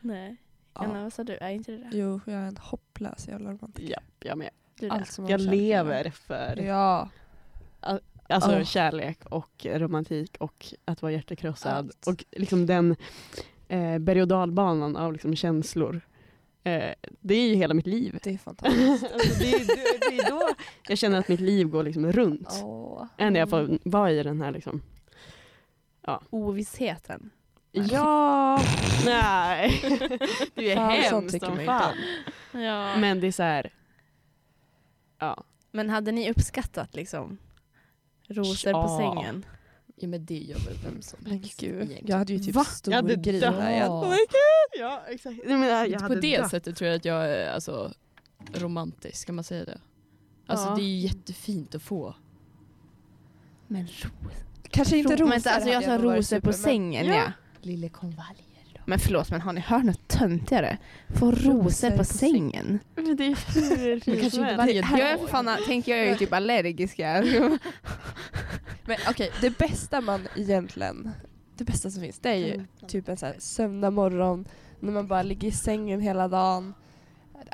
Nej. Anna Ja. vad sa du? Är inte det det? Jo, jag är en hopplös jävla romantiker. Ja, jag med. Du Allt som har Jag med kärlek att göra. lever för Ja. alltså, Åh. kärlek och romantik och att vara hjärtekrossad. Allt. Och liksom den eh, berg och dalbanan av liksom, känslor. Eh, det är ju hela mitt liv. Det är fantastiskt. Alltså, det, är, det, det är då jag känner att mitt liv går liksom runt. Åh. Än när jag får vara i den här liksom. Ovissheten. Ja, nej. Det är Fan, sånt hemskt tycker man som inte fan. Ja. Men, Men det är så här. Ja. hade ni uppskattat liksom rosor på Ja. sängen? Ja men det gör väl vem som Men helst. gud, jag egentligen. hade ju typ Va? stor Jag hade grej dött. där. Jag, Ja. Oh my God. Ja, exakt. Nej, men jag, jag På hade det dött. sättet tror jag att jag är alltså, romantisk, kan man säga det? Alltså Ja. det är ju jättefint att få. Men rosor? kanske inte rosor. Men, alltså, jag hade sa nog varit rosor super, på men- sängen Ja. ja. Lille konvaljer. Men förlåt, men har ni hört något töntigare? Få rosor på sängen? Men det är hur Men fint kanske som inte helst. varje Jag är dag. för fan, tänker jag är ju typ allergisk här. Men okej, det bästa man egentligen, det bästa som finns, det är ju typ en så här söndag morgon när man bara ligger i sängen hela dagen,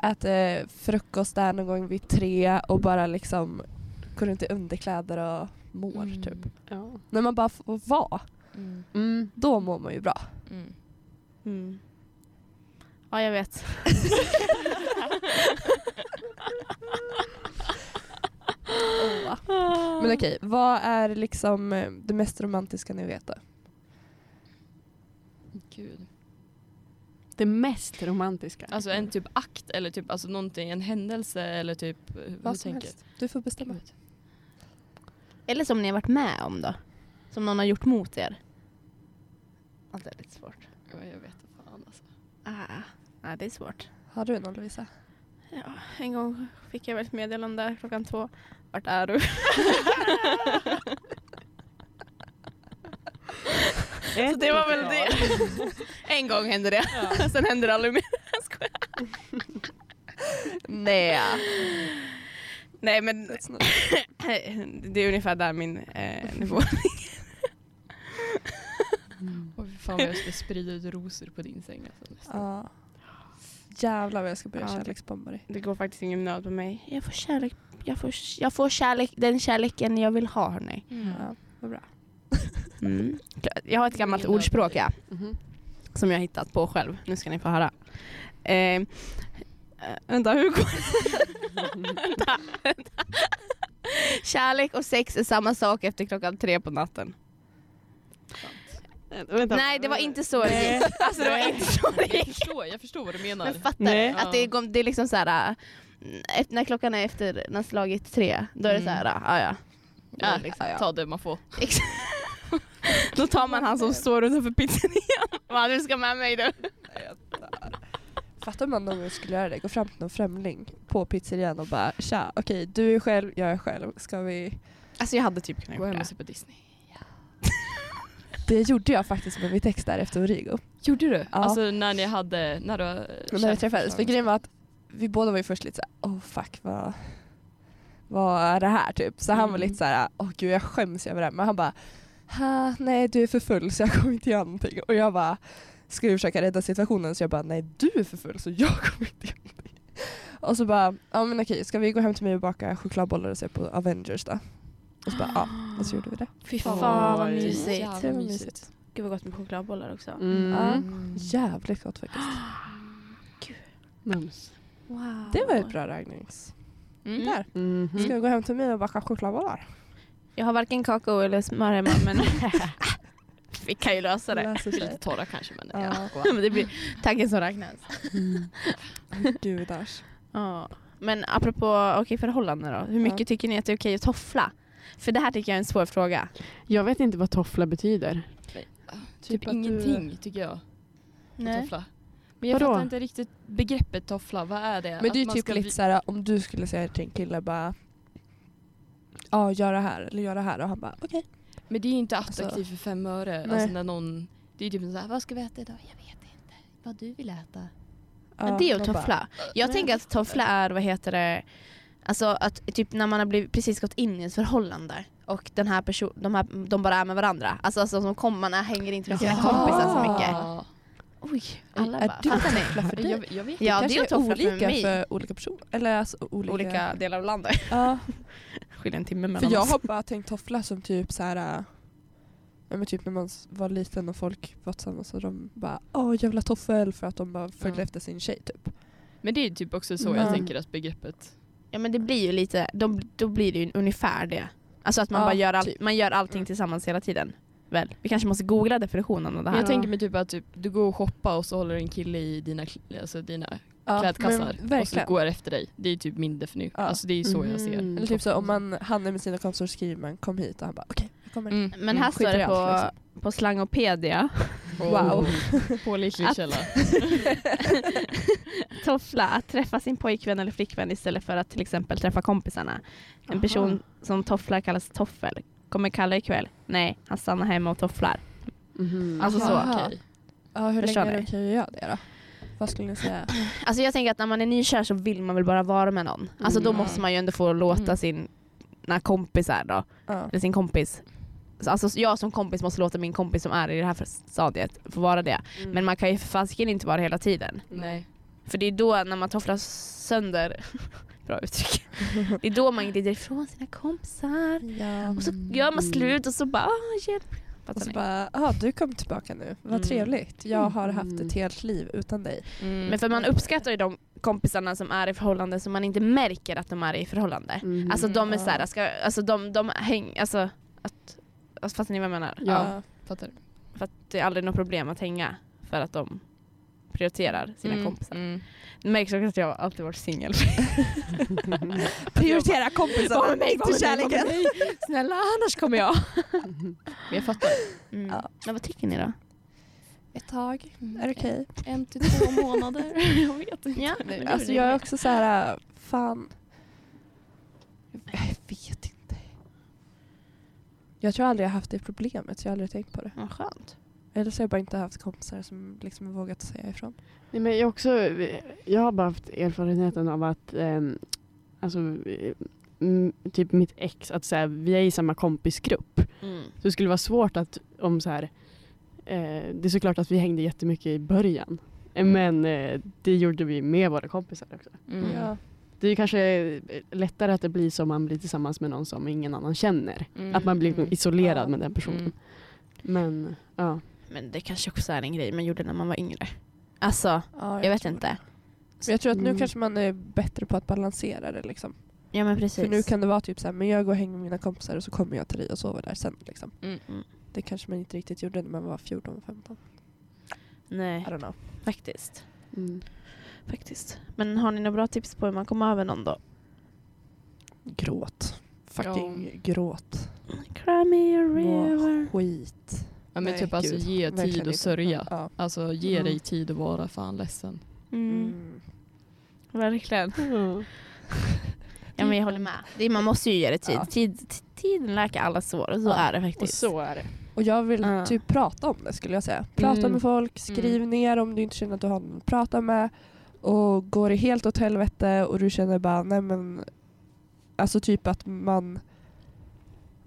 äter frukost där någon gång vid tre och bara liksom går runt i underkläder och mår Mm. typ. Ja. När man bara får vara, Mm. Mm. då mår man ju bra. Mm. Mm. Ja, jag vet. Men okej, vad är liksom eh, det mest romantiska ni vet då? Gud. Det mest romantiska. Alltså en typ akt eller typ alltså någonting, en händelse eller typ Vad vad du som tänker. helst. Du får Mm. bestämma. Gud. Eller som ni har varit med om då? Som någon har gjort mot er? Ja, det är lite svårt. Ja, jag vet inte fan alltså. Ah, nej, det är svårt. Har du någon Lovisa? Ja, en gång fick jag väl ett meddelande klockan två. Vart är du? Så det var väl det. typ, En gång hände det. Sen hände det aldrig mer. Jag skojar. Nej. Nej men det är ungefär där min eh, nivå Och fy fan vad jag ska sprida ut rosor på din säng alltså. nästan. Ja. Jävlar vad jag ska börja Ja, det- kärleksbomba dig. Det går faktiskt ingen nöd på mig. Jag får kärlek, jag får, jag får kärlek, den kärleken jag vill ha hörni. Mm. Ja, vad bra. Mm. Jag har ett gammalt Ingen nöd på ordspråk ja, Mhm. som jag har hittat på själv. Nu ska ni få höra. Eh, eh, vänta, hur går det? vänta, vänta. Kärlek och sex är samma sak efter klockan tre på natten. Eh, Vänta. Nej det var inte så det gick. Alltså det var inte så det Jag gick. förstår, jag förstår vad du menar. Men fattar Nej. du? Att det, går- det är liksom så här. äh, efter- När klockan är efter, när slagit tre, då är det så här, äh, ja ja. ja, liksom, ja. Ta det man får. Då tar man han som står utanför pizzerian. Va, du ska med mig du. Fattar om man någon gång skulle göra det, gå fram till någon främling på pizzerian och bara tja, okej du är själv, jag är själv, ska vi? Alltså jag hade typ kunnat Gå göra hem och det. se på Disney. Det gjorde jag faktiskt med min text där efter Origo. Gjorde du? Ja. Alltså när ni hade, när du När vi träffades, för grejen var att vi båda var ju först lite såhär, oh fuck vad, vad är det här typ? Så han var Mm. lite såhär, åh gud jag skäms över det här. Men han bara, "Ha, nej du är för full så jag kommer inte göra någonting. Och jag bara, skulle försöka rädda situationen så jag bara, nej du är för full så jag kommer inte göra någonting. Och så bara, ja men okej ska vi gå hem till mig och baka chokladbollar och se på Avengers då? Och så bara, ja. Och så gjorde vi det. Fy fan, vad mysigt. Jävla mysigt. Gud vad gott med chokladbollar också. Mm. Ja. Mm. Jävligt gott faktiskt. Mums. Wow. Det var ett bra ragnings. Mm. Där. Mm-hmm. Mhm. Ska vi gå hem till mig och baka chokladbollar? Jag har varken kakao eller smör hemma men vi kan ju lösa det. Löser sig. Lite torra kanske men Ja. ja. Men det blir tanken som räknas. Gudars. Ja. Men apropå okej, förhållanden då. Hur mycket Ja. tycker ni att det är okej att toffla? För det här tycker jag är en svår fråga. Jag vet inte vad toffla betyder. Typ, att du- ingenting tycker jag. på Toffla. Men jag Vadå? fattar inte riktigt begreppet toffla, vad är det? Men det är ju man typ ska lite vi- såhär om du skulle säga till en kille bara Ja, gör det här eller gör det här och han bara okej. Men det är ju inte Alltså- attraktivt för fem öre. Nej. Alltså när någon, det är typ såhär, vad ska vi äta idag? Jag vet inte. Vad du vill äta. Men det är Ja, ju man bara, toffla. Jag tänker att toffla är, vad heter det, alltså att typ när man har blivit, precis gått in i ett förhållande och den här person, de, här, de bara är med varandra. Alltså, alltså som kommer, man hänger inte med sina Ja. Ah. kompisar så mycket. Ja, Oj, alla Är bara, du fattar ni? toffla för dig? jag, jag vet Ja, det kanske är att toffla olika för mig. för olika personer. Eller alltså olika. Olika delar av landet. Ja, Skiljer en timme mellan för jag oss. har bara tänkt toffla som typ så här. äh, Ja, men typ när man s- var liten och folk var tillsammans och de bara åh jävla toffel för att de bara följde Mm. efter sin tjej typ. Men det är typ också så Mm. jag tänker att begreppet... Ja men det blir ju lite, då, då blir det ju ungefär det. Alltså att man Ja, bara gör, all, typ. man gör allting tillsammans hela tiden. Väl? Vi kanske måste googla definitionen av det Men här. jag tänker mig typ att typ, du går och shoppar och så håller en kille i dina, kl- alltså dina Ja, klädkassar men verkligen. och så går efter dig. Det är typ min definition. Ja. Alltså det är så jag ser. Mm. Eller typ så om man, han är med sina kompisar och skriver man kom hit och han bara okej, jag kommer. Mm. Men här står skiter i det allt, på, på slangopedia, Wow. Oh. Pålitlig Att- källa. toffla, att träffa sin pojkvän eller flickvän istället för att till exempel träffa kompisarna. En Aha. person som tofflar kallas toffel. Kommer Kalle ikväll? Nej, han stannar hemma och tofflar. Mhm. Alltså så. Aha. Okej. Ja, hur Förstår länge är det ni? okej att göra det då? Vad skulle ni säga? Alltså jag tänker att när man är nykär så vill man väl bara vara med någon. Alltså då Mm. måste man ju ändå få låta Mm. sina kompisar då, Ja. eller sin kompis. Så Alltså jag som kompis måste låta min kompis som är i det här stadiet få vara det. Mm. Men man kan ju för fasiken inte vara det hela tiden. Nej. För det är då när man tofflar sönder, bra uttryck, det är då man glider ifrån sina kompisar. Ja. Och så gör man slut och så bara ah, hjälp. Mm. Och så Fattar ni? bara, ah, du kom tillbaka nu, vad Mm. trevligt. Jag har haft Mm. ett helt liv utan dig. Mm. Men för man uppskattar ju de kompisarna som är i förhållande som man inte märker att de är i förhållande. Mhm. Alltså de är Ja. såhär, ska, alltså de, de häng, alltså att, alltså, fattar ni vad jag menar? Ja. Fattar. För att det är aldrig något problem att hänga för att de prioriterar sina Mm, kompisar. mm. Det märks också att jag alltid varit singel. Ja. Prioritera Var kompisarna, med mig, var inte med mig, var kärleken. med mig. Snälla, annars kommer jag. Men jag fattar. Mm. Ja. Men vad tycker ni då? Ett tag, är det okej? En till två månader. jag vet inte. Ja. Nej, Alltså jag är också så här, fan. Jag vet inte. Jag tror aldrig jag haft det problemet, så jag har aldrig tänkt på det. Vad skönt. Eller så har jag bara inte haft kompisar som liksom vågat säga ifrån. Nej, men jag, också, jag har bara haft erfarenheten av att ehm, alltså, eh, m- typ mitt ex, att så här, vi är i samma kompisgrupp. Mm. Så det skulle vara svårt att om så här, eh, det är såklart att vi hängde jättemycket i början. Eh, Men eh, det gjorde vi med våra kompisar också. Mm. Ja. Det är kanske eh, lättare att det blir som man blir tillsammans med någon som ingen annan känner. Mm. Att man blir Mm. isolerad Ja. med den personen. Mm. Men ja. Men det kanske också är en grej man gjorde när man var yngre. Alltså, Ja, jag vet tror inte. Men jag tror att nu Mm. kanske man är bättre på att balansera det. Liksom. Ja men precis. För nu kan det vara typ så här, men jag går och hänger med mina kompisar och så kommer jag till dig och sover där sen. Liksom. Mm. Mm. Det kanske man inte riktigt gjorde när man var 14-15. I Nej, don't know. faktiskt. Mm. faktiskt. Men har ni några bra tips på hur man kommer över någon då? Gråt. Fucking gråt. Cry me a Må river. skit. Ja, men Nej, typ alltså gud. ge Verkligen tid inte. och sörja. Ja. Alltså ge Mm. dig tid att vara fan ledsen. Mm. Mm. Verkligen. Ja. Ja men jag håller med. Det, man måste ju ge det tid. Ja. tid t- tiden läker alla sår och så Ja. är det faktiskt. Och så är det. Och jag vill Ja. typ prata om det skulle jag säga. Prata Mm. med folk, skriv ner om du inte känner att du har någon att prata med. Och går det helt åt helvete och du känner bara nej men alltså typ att man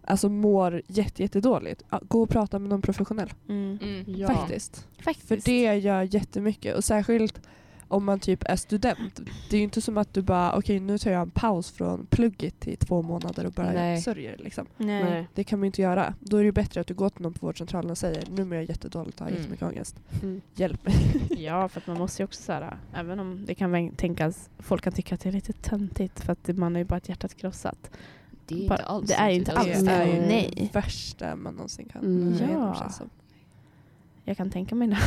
alltså mår jätte, jättedåligt. Ja, gå och prata med någon professionell Mm. Ja. faktiskt. Faktiskt. För det gör jättemycket och särskilt om man typ är student. Det är ju inte som att du bara okej nu tar jag en paus från plugget i två månader och bara Nej. sörjer liksom. Nej. Nej. Det kan man ju inte göra. Då är det ju bättre att du går till någon på vårdcentralen och säger nu mår jag jättedåligt och har Mm. jättemycket ångest. Mm. Hjälp mig. Ja för att man måste ju också såhär, även om det kan väl tänkas, folk kan tycka att det är lite töntigt för att det- man är ju bara ett hjärtat krossat. Det är Bara- inte alls det är ju sant. inte Alltså, alls det sant. är ju Nej. det värsta man någonsin kan Mm. gå igenom, Ja. känns som. Jag kan tänka mig det.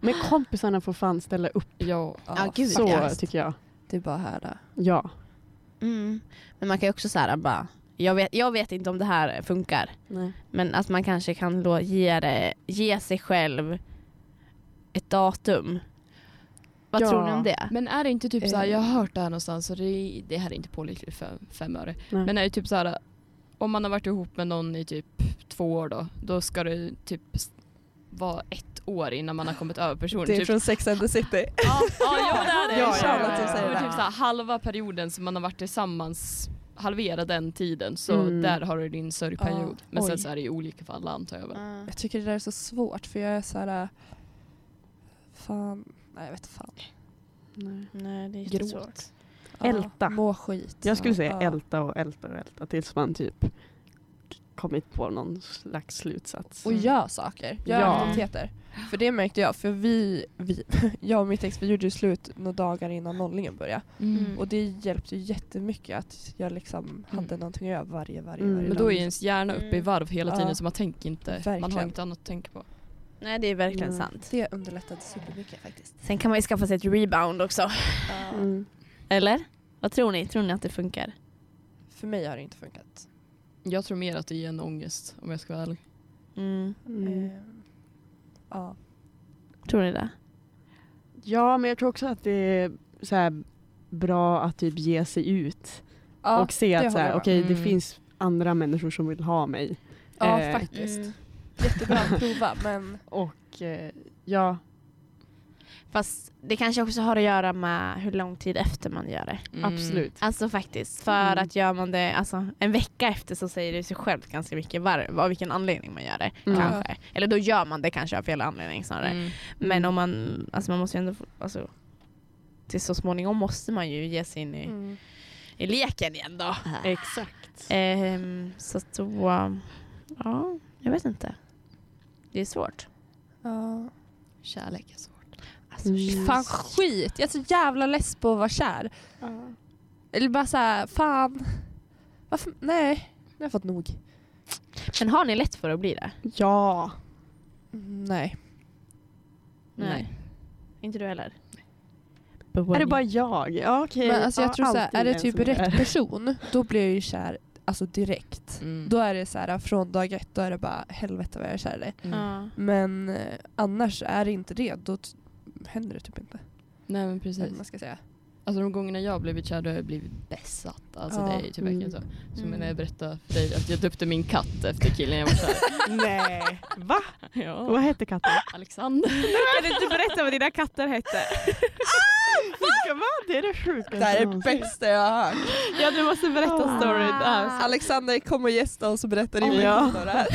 Men kompisarna får fan ställa upp. Ja. Ja, gud, Så fuck. ja. tycker jag. Det är bara här då. Ja. Mm. Men man kan ju också såhär bara, jag vet, jag vet inte om det här funkar. Nej. Men att man kanske kan då ge, det, ge sig själv ett datum. Vad Ja. tror ni om det? Men är det inte typ Eh. så här, jag har hört det här någonstans och det, det här är inte pålitligt för fem öre. Nej. Men är det typ så här, om man har varit ihop med någon i typ två år då, då ska det typ s- vara ett år innan man har kommit över personen. Det är typ. från Sex and the City. Ja, ja, jo, det är det. Ja, ja, ja, ja. Det är typ så här, halva perioden som man har varit tillsammans, halvera den tiden. Så Mm. där har du din sörjperiod. Ja, Men oj. sen så är det ju olika för alla antar jag väl. Mm. Jag tycker det där är så svårt för jag är så här. äh, Fan. Nej jag vet fan. Nej. Nej, det är Gråt. jättesvårt. Ja, Älta. Må skit. Jag skulle säga Ja. älta och älta och älta tills man typ kommit på någon slags slutsats. Och gör saker, gör Mm. Ja. aktiviteter. För det märkte jag, för vi, vi jag och mitt ex vi gjorde ju slut några dagar innan nollningen började. Mm. Och det hjälpte ju jättemycket att jag liksom hade någonting att göra varje, varje, Mm, varje Men dag. då är ens hjärna uppe i Mm. varv hela Ja. tiden så man tänker inte, man har Verkligen. inte annat att tänka på. Nej det är verkligen Mm. sant. Det underlättade supermycket faktiskt. Sen kan man ju skaffa sig ett rebound också. Mm. Eller? Vad tror ni? Tror ni att det funkar? För mig har det inte funkat. Jag tror mer att det är en ångest om jag ska vara ärlig. Mm. Mm. Ehm, ja. Tror ni det? Ja, men jag tror också att det är så här bra att typ ge sig ut Ja, och se det att så håller här, jag okej, det Mm. finns andra människor som vill ha mig. ja eh, faktiskt. Jättebra att prova men Och eh, ja, Fast det kanske också har att göra med hur lång tid efter man gör det. Mm. Mm. absolut. Alltså faktiskt, för Mm. att gör man det alltså, en vecka efter så säger det sig självt ganska mycket var, av vilken anledning man gör det. Mm. Kanske. Eller då gör man det kanske av fel anledning snarare. Mm. Men om man, alltså man måste ju ändå, få- alltså, till så småningom måste man ju ge sig in i, mm. i leken igen då. Exakt. Ehm, så att då, um, ja, jag vet inte. Det är svårt. ja. Kärlek är svårt. Alltså, Mm. Fan skit, jag är så jävla less på att vara kär. Eller bara såhär, fan. Varför? Nej, nu har jag fått nog. Men har ni lätt för att bli det? Ja. Mm, Nej. Nej. Inte du heller? Är det bara jag? Ja, okej. Men alltså jag Ja, tror såhär, alltid är det en typ som rätt är. person, då blir jag ju kär alltså direkt. Mm. Då är det så här från dag ett, då är det bara helvete vad jag är kär i dig. Mm. Men eh, annars är det inte det, då t- händer det typ inte. Nej men Eller vad precis. man ska säga. Alltså de gångerna jag har blivit kär då har jag blivit besatt. Alltså Ja. det är ju typ verkligen så. Mm. Som när jag berättade för dig att jag döpte min katt efter killen jag var kär Nej. Va? i. Ja. Vad hette katten? Alexander. Kan du inte berätta vad dina katter hette? Va? Det är det sjukaste. Det här är det någonsin. bästa jag har hört. Ja du måste berätta storyn. Ah. Alexander kom och gästa oss och berättade innan Ja. om det här.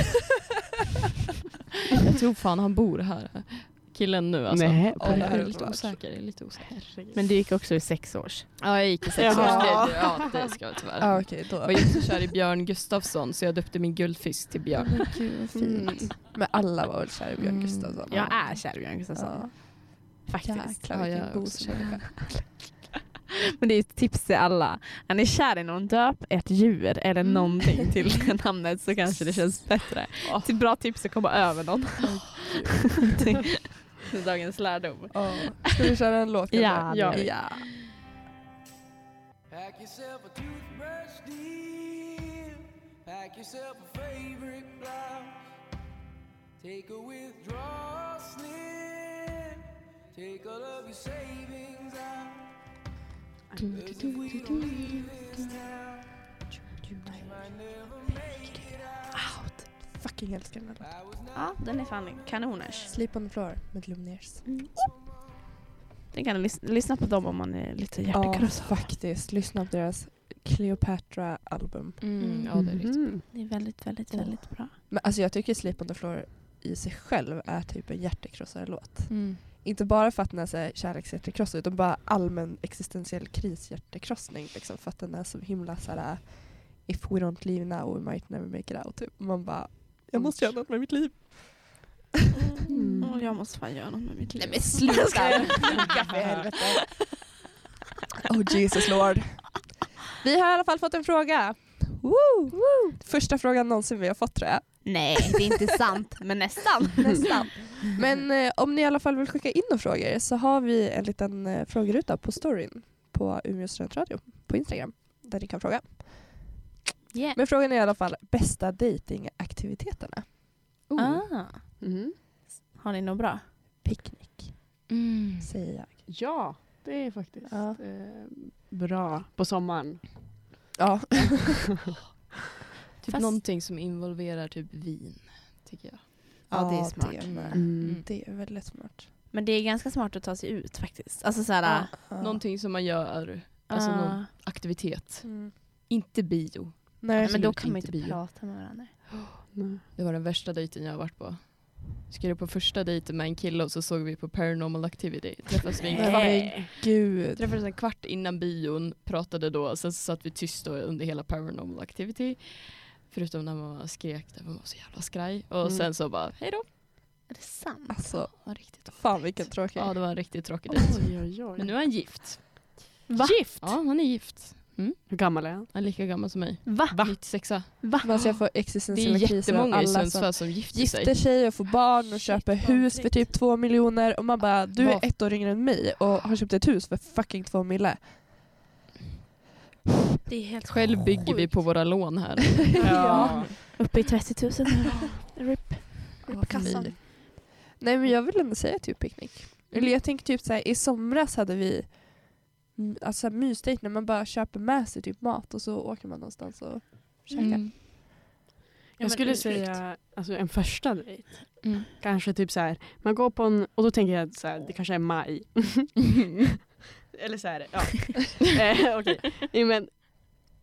Jag tror fan han bor här. Killen nu alltså. Nej, Ja, jag är herregud. lite osäker. Jag är lite osäker. Men du gick också i sex års. Ja jag gick i sex Jaha. år. Det, ja det ska jag tyvärr. Ja Ah, okej då. Jag var jättekär i Björn Gustafsson så jag döpte min guldfisk till Björn. Men gud vad fint. Men alla var väl kära i Björn Mm. Gustafsson? Jag är kär i Björn Gustafsson. Ja. Faktiskt. Jäklar Ja, jag är vilken också boskärlek. Men det är ett tips till alla. Är ni kär i någon, döp ett djur eller Mm. någonting till det namnet så kanske det känns bättre. Ja. Till bra tips att komma över någon. Till Dagens lärdom. Ja. Ska vi köra en låt? Ja, eller? det gör vi. ja. Pack yourself a toothbrush deal. Pack yourself a favorite blouse. Take a withdrawal slip. Take all of your savings out. 'Cause if we don't leave this town, we might never make it out. Fucking älskar den här låten. I was not Ja, den är fan kanoners. Sleep on the floor med Lumineers. Den Mm. kan lys- lyssna på dem om man är lite Ja hjärtekrossad. faktiskt, lyssna på deras Cleopatra album. Mm, ja det är riktigt. Mhm. Det är väldigt, väldigt, Ja. väldigt bra. Men alltså jag tycker Sleep on the floor i sig själv är typ en hjärtekrossare låt. Inte bara för att den är så här kärlekshjärtekross utan bara allmän existentiell krishjärtekrossning. Liksom, för att den är så himla så här If we don't leave now we might never make it out. Typ. Man bara, jag måste göra något med mitt liv. Mm. Åh, jag måste fan göra något med mitt liv. Nej men sluta! Ljuga för helvete. Oh Jesus Lord. Vi har i alla fall fått en fråga. Woo! Första frågan någonsin vi har fått tror jag. Nej, det är inte sant, men nästan. Nästan. Men eh, om ni i alla fall vill skicka in några frågor så har vi en liten eh, frågeruta på storyn på Umeå studentradio på Instagram där ni kan fråga. Yeah. Men frågan är i alla fall bästa datingaktiviteterna. Oh. Ah. Mhm. Har ni något bra? Picknick Mm. säger jag. Ja, det är faktiskt Ja. eh, bra på sommaren. Ja. Typ Fast- någonting som involverar typ vin. Tycker jag. Ja, det är smart. Det är, med. Mm. det är väldigt smart. Men det är ganska smart att ta sig ut faktiskt. Alltså såhär... Ja. Någonting som man gör, Ah. alltså någon aktivitet. Mm. Inte bio. Nej. men absolut då kan man ju typ inte inte bio. prata med varandra. Mm. Nej. Det var den värsta dejten jag har varit på. Jag Skulle på första dejten med en kille och så såg vi på Paranormal Activity. Träffades vi en kvart, Men gud. träffades en kvart innan bion, pratade då, sen så satt vi tysta under hela Paranormal Activity. Förutom när man skrek där, man var så jävla skraj. Och Mm. sen så bara, hej då. Är det sant? Alltså, Det var riktigt dåligt. fan vilken tråkig. Ja, det var en riktigt tråkig dejt. Oj, oj, oj. Men nu är han gift. Va? Gift? Ja, han är gift. Hur gammal är han? Han är lika gammal som mig. Va? 96 Men alltså jag får existentiella Det är kriser av jättemånga i alla som Sundsvall som gifter sig. gifter sig och får barn och köper hus för typ två miljoner och man bara du är Vad- ett år yngre än mig och har köpt ett hus för fucking två mille. Det är helt Själv bygger vi på våra lån här. Ja. Uppe i 30 000 RIP. RIP kassan. Nej men jag vill ändå säga typ picknick. Mm. Eller jag tänker typ såhär i somras hade vi mm, alltså så här mysdejt när man bara köper med sig typ mat och så åker man någonstans och käkar. Mm. Jag men skulle ursäkt. säga alltså, en första dejt. Mm. Kanske typ så här, man går på en, och då tänker jag så här, det kanske är maj. Eller så här, ja. eh, okej. Nej, Men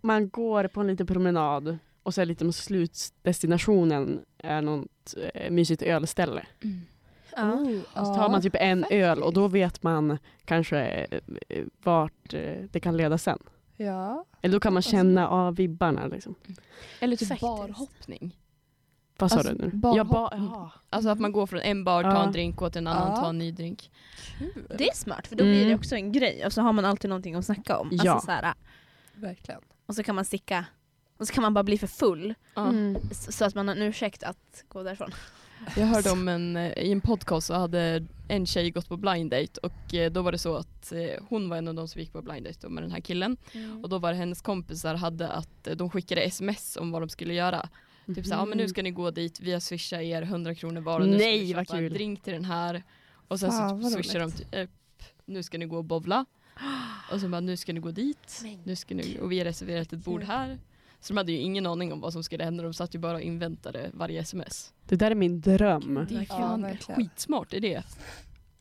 man går på en liten promenad och så är lite mot slutdestinationen är något eh, mysigt ölställe. Ja. Och så tar man typ en öl och då vet man kanske eh, eh, vart eh, det kan leda sen. Ja. Eller då kan Alltså, man känna av vibbarna liksom. Eller typ Faktiskt. barhoppning. Vad sa Alltså, du nu? bara- ja, ba- ja. Alltså att man går från en bar, tar Ja. en drink åt en annan, Ja. tar en ny drink. Det är smart för då blir det Mm. också en grej och så har man alltid någonting att snacka om. Ja. Alltså, så här, Verkligen. och så kan man sticka och så kan man bara bli för full Ja. Mm. så så att man har en ursäkt att gå därifrån. Jag hörde om en, eh, i en podcast så hade en tjej gått på blind date och eh, då var det så att eh, hon var en av de som gick på blind date då med den här killen. Och då var det hennes kompisar hade att eh, de skickade sms om vad de skulle göra. Typ såhär, ja Mm. men nu ska ni gå dit, vi har swishat er 100 kronor var och nu ska Mhm. Nej, ni vad köpa en kul. drink till den här. Och sen Fan, så typ vad swishar de roligt. typ, eh, nu ska ni gå och bowla. Och så bara, nu ska ni gå dit, nu ska ni, och vi har reserverat ett bord här. Så de hade ju ingen aning om vad som skulle hända, de satt ju bara och inväntade varje sms. Det där är min Mm. dröm. Det är Ja, fan verkligen. skitsmart idé.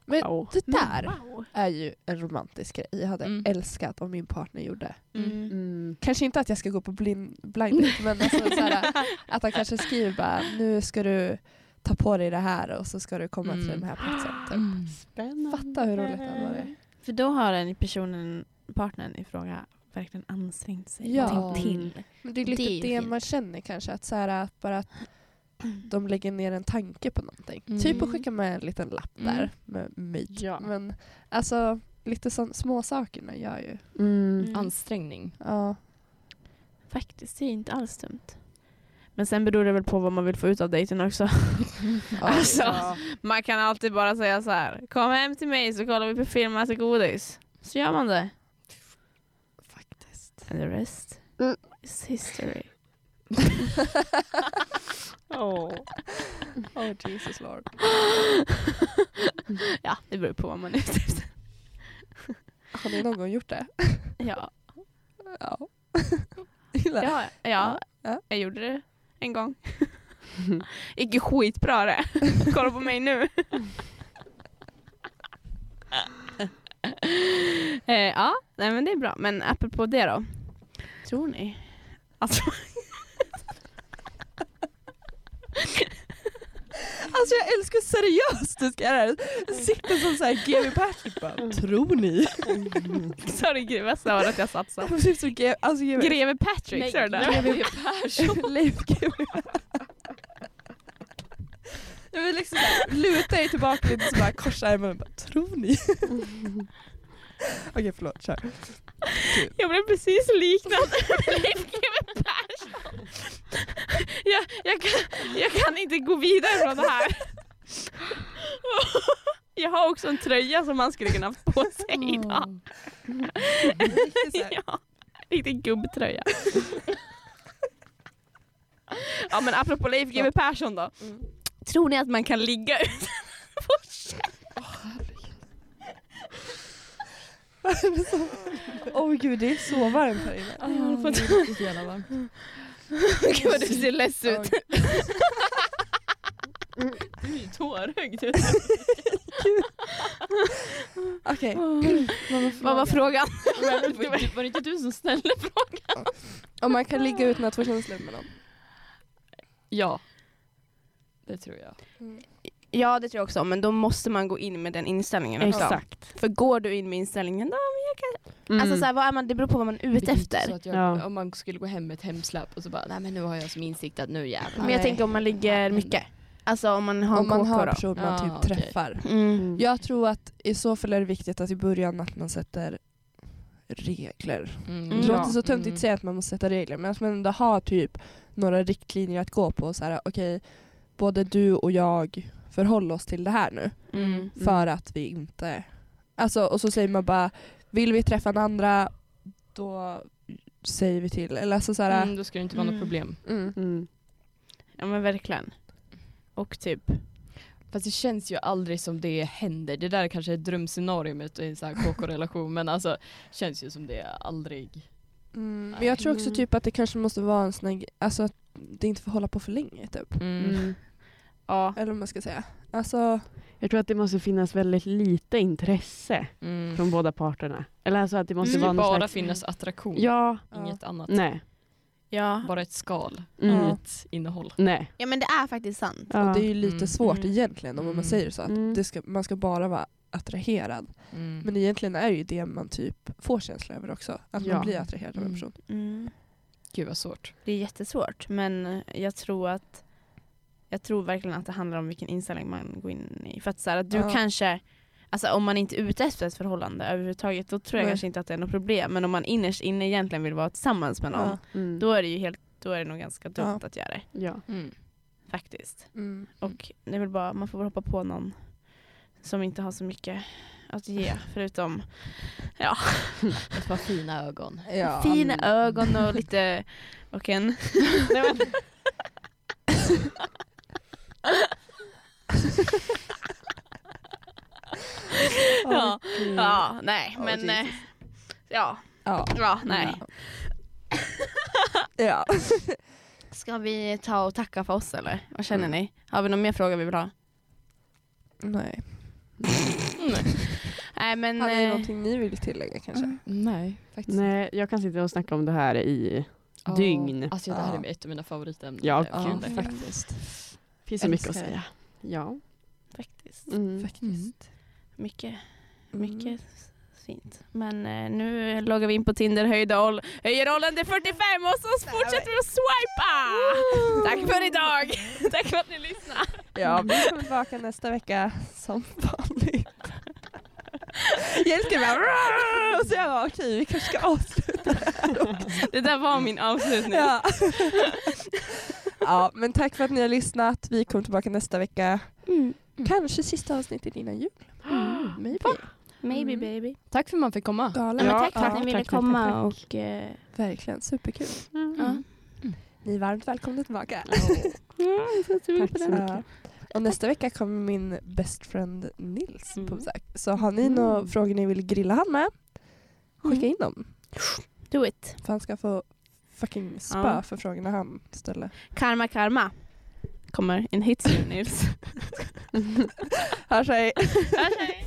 Men Wow. det där Wow. är ju en romantisk grej. Jag hade Mm. älskat om min partner gjorde. Mm. Mm. Kanske inte att jag ska gå på blind, blind date, men alltså såhär, att han kanske skriver bara nu ska du ta på dig det här och så ska du komma till Mm. den här platsen. Typ. Spännande. Fatta hur roligt det hade varit. För då har den personen, partnern i fråga verkligen ansträngt sig Ja. och tänkt till. Men det är Det lite är ju det, fint. man känner kanske, att, såhär, att bara att Mm. de lägger ner en tanke på någonting. Typ att skicka med en liten lapp Mm. där med myt. Ja. Men alltså lite sån, små sakerna gör ju. Mm. Mm. Ansträngning. Ja. Faktiskt, det är inte alls dumt. Men sen beror det väl på vad man vill få ut av dejten också. Ja. Alltså, man kan alltid bara säga så här. kom hem till mig så kollar vi på film och äter godis. Så gör man det. Faktiskt. And the rest is history. Åh. Oh Jesus lord. ja, det beror på vad man är ute efter. Har ni någon gång gjort det? Ja, Ja. Gillar. ja, ja, Ja. jag gjorde det en gång. Gick ju skitbra det. Kolla på mig nu. eh, ja, nej men det är bra. Men apropå det då. Tror ni? Alltså, Alltså jag älskar seriöst du ska göra det här. Sitter som såhär GW Patrick bara, tror ni? sorry gud vad sa du att jag satsade? Typ som G- alltså GW Greve Patrick, sa du det? GW Persson. Leif GW. Jag vill liksom såhär, luta er tillbaka lite så bara korsa armarna och bara, tror ni? Okej förlåt, kör. Jag blev precis liknad Leif GW Persson. Jag, jag, kan, jag kan inte gå vidare från det här. Jag har också en tröja som han skulle kunna ha på sig idag. Riktigt såhär, Ja, riktig gubbtröja. Ja men apropå Leif GW Persson då. Tror ni att man kan ligga utan att få känna? vad är det som händer? Åh gud det är så varmt här inne. Jag håller på att- Så jävla varmt. Gud vad du ser less ut. Åh, Du är ju tårögd. Okej. Vad var frågan? Var det inte du som ställde frågan? Om man kan ligga utan att få känslor med någon. Ja. Det tror jag. Mm. Ja det tror jag också, men då måste man gå in med den inställningen också. Exakt. För går du in med inställningen då, men jag kan, Mm. Alltså så här, vad är man, det beror på vad man är Det ute är inte efter. Så att jag, Ja. Om man skulle gå hem med ett hemsläp och så bara, nej men nu har jag som insikt att nu jävlar. Men jag tänker om man ligger mycket. Alltså om man har Om man en har KK då. personer man Ah, typ okej. träffar. Mm. Mm. Jag tror att i så fall är det viktigt att i början att man sätter regler. Mm. Det Mm. låter så töntigt Mm. att säga att man måste sätta regler men att man ändå har typ några riktlinjer att gå på. Så här, okej, både du och jag förhåller oss till det här nu. Mm. För att vi inte... Alltså, och så säger man bara, vill vi träffa den andra då säger vi till. Eller alltså så här, Mm, då skulle det inte vara något Mm. problem. mm. Mm. Ja men verkligen. Och typ. Fast det känns ju aldrig som det händer. Det där kanske är drömscenariot i en sån här KK-relation men alltså känns ju som det aldrig. Mm. Men jag tror också Mm. typ att det kanske måste vara en sån här, alltså att det inte får hålla på för länge typ. Mm. Ja. Eller vad man ska säga. Alltså, Jag tror att det måste finnas väldigt lite intresse Mm. från båda parterna. Eller alltså att det Det måste ska vara någon bara slags... finnas attraktion, Ja, ja. inget annat. nej. Ja. Bara ett skal, Mm. Ja. ett innehåll. Nej. ja men det är faktiskt sant. Ja. Och det är ju lite Mm. svårt Mm. egentligen om man Mm. säger så. Att Mm. det ska, man ska bara vara attraherad. Men egentligen är ju det man typ får känsla över också. Att Ja. man blir attraherad av en Mm. person. Mm. Gud vad svårt. Det är jättesvårt men jag tror att jag tror verkligen att det handlar om vilken inställning man går in i. För att, så här, att du Ja. kanske, alltså om man inte är ute efter ett förhållande överhuvudtaget då tror jag Nej. kanske inte att det är något problem. Men om man innerst inne egentligen vill vara tillsammans med någon Ja. Mm. då är det ju helt, då är det nog ganska dumt Ja. att göra det Ja. faktiskt. Mm. Och det är väl bara, man får väl hoppa på någon som inte har så mycket att ge förutom Ett par fina ögon. Ja. fina ögon och lite och en... Nej, men- ja, Mm. ja, nej Oh, men eh, Jesus. ja, Ja. ja, nej. Ja. Ska vi ta och tacka för oss eller? Vad känner ni? Har vi någon mer fråga vi vill ha? Nej. Nej Mm. men... Har ni eh, någonting ni vill tillägga kanske? Nej, faktiskt. Nej, jag kan sitta och snacka om det här i... Ja. Dygn. Alltså det här Ja. är ett av mina favoritämnen. Ja, Jag gud. kan det. faktiskt. finns så mycket att Älskar. säga. Ja. faktiskt. Mm. faktiskt. Mycket, Mm. mycket fint. Men eh, nu loggar vi in på Tinder, höjde ål- höjer åldern till 45 och så fortsätter vi att swipa! Tack för idag! Tack för att ni lyssnade! Mm. Ja, vi kommer tillbaka nästa vecka som vanligt. Jessica bara "Rrrr!" och så jag bara okej vi kanske ska avsluta. Det där var min avslutning. Ja. ja men tack för att ni har lyssnat. Vi kommer tillbaka nästa vecka. Mm. Kanske sista avsnittet innan jul. Maybe. Maybe baby. Tack för att man fick komma. Galen. Ja, men Ja, Mm. tack för att ja, ni ville tack, tack, komma tack. och eh, Verkligen superkul. ja. Ni är varmt välkomna tillbaka. Tack så mycket. Ja. Och nästa vecka kommer min best friend Nils på Mm. besök. Så har ni några frågor ni vill grilla han med, skicka in dem. do it. För han ska få fucking spö Ja. för frågorna han ställer. Karma karma. Kommer en hit soon Nils. Hörs hej! Hörs, hej.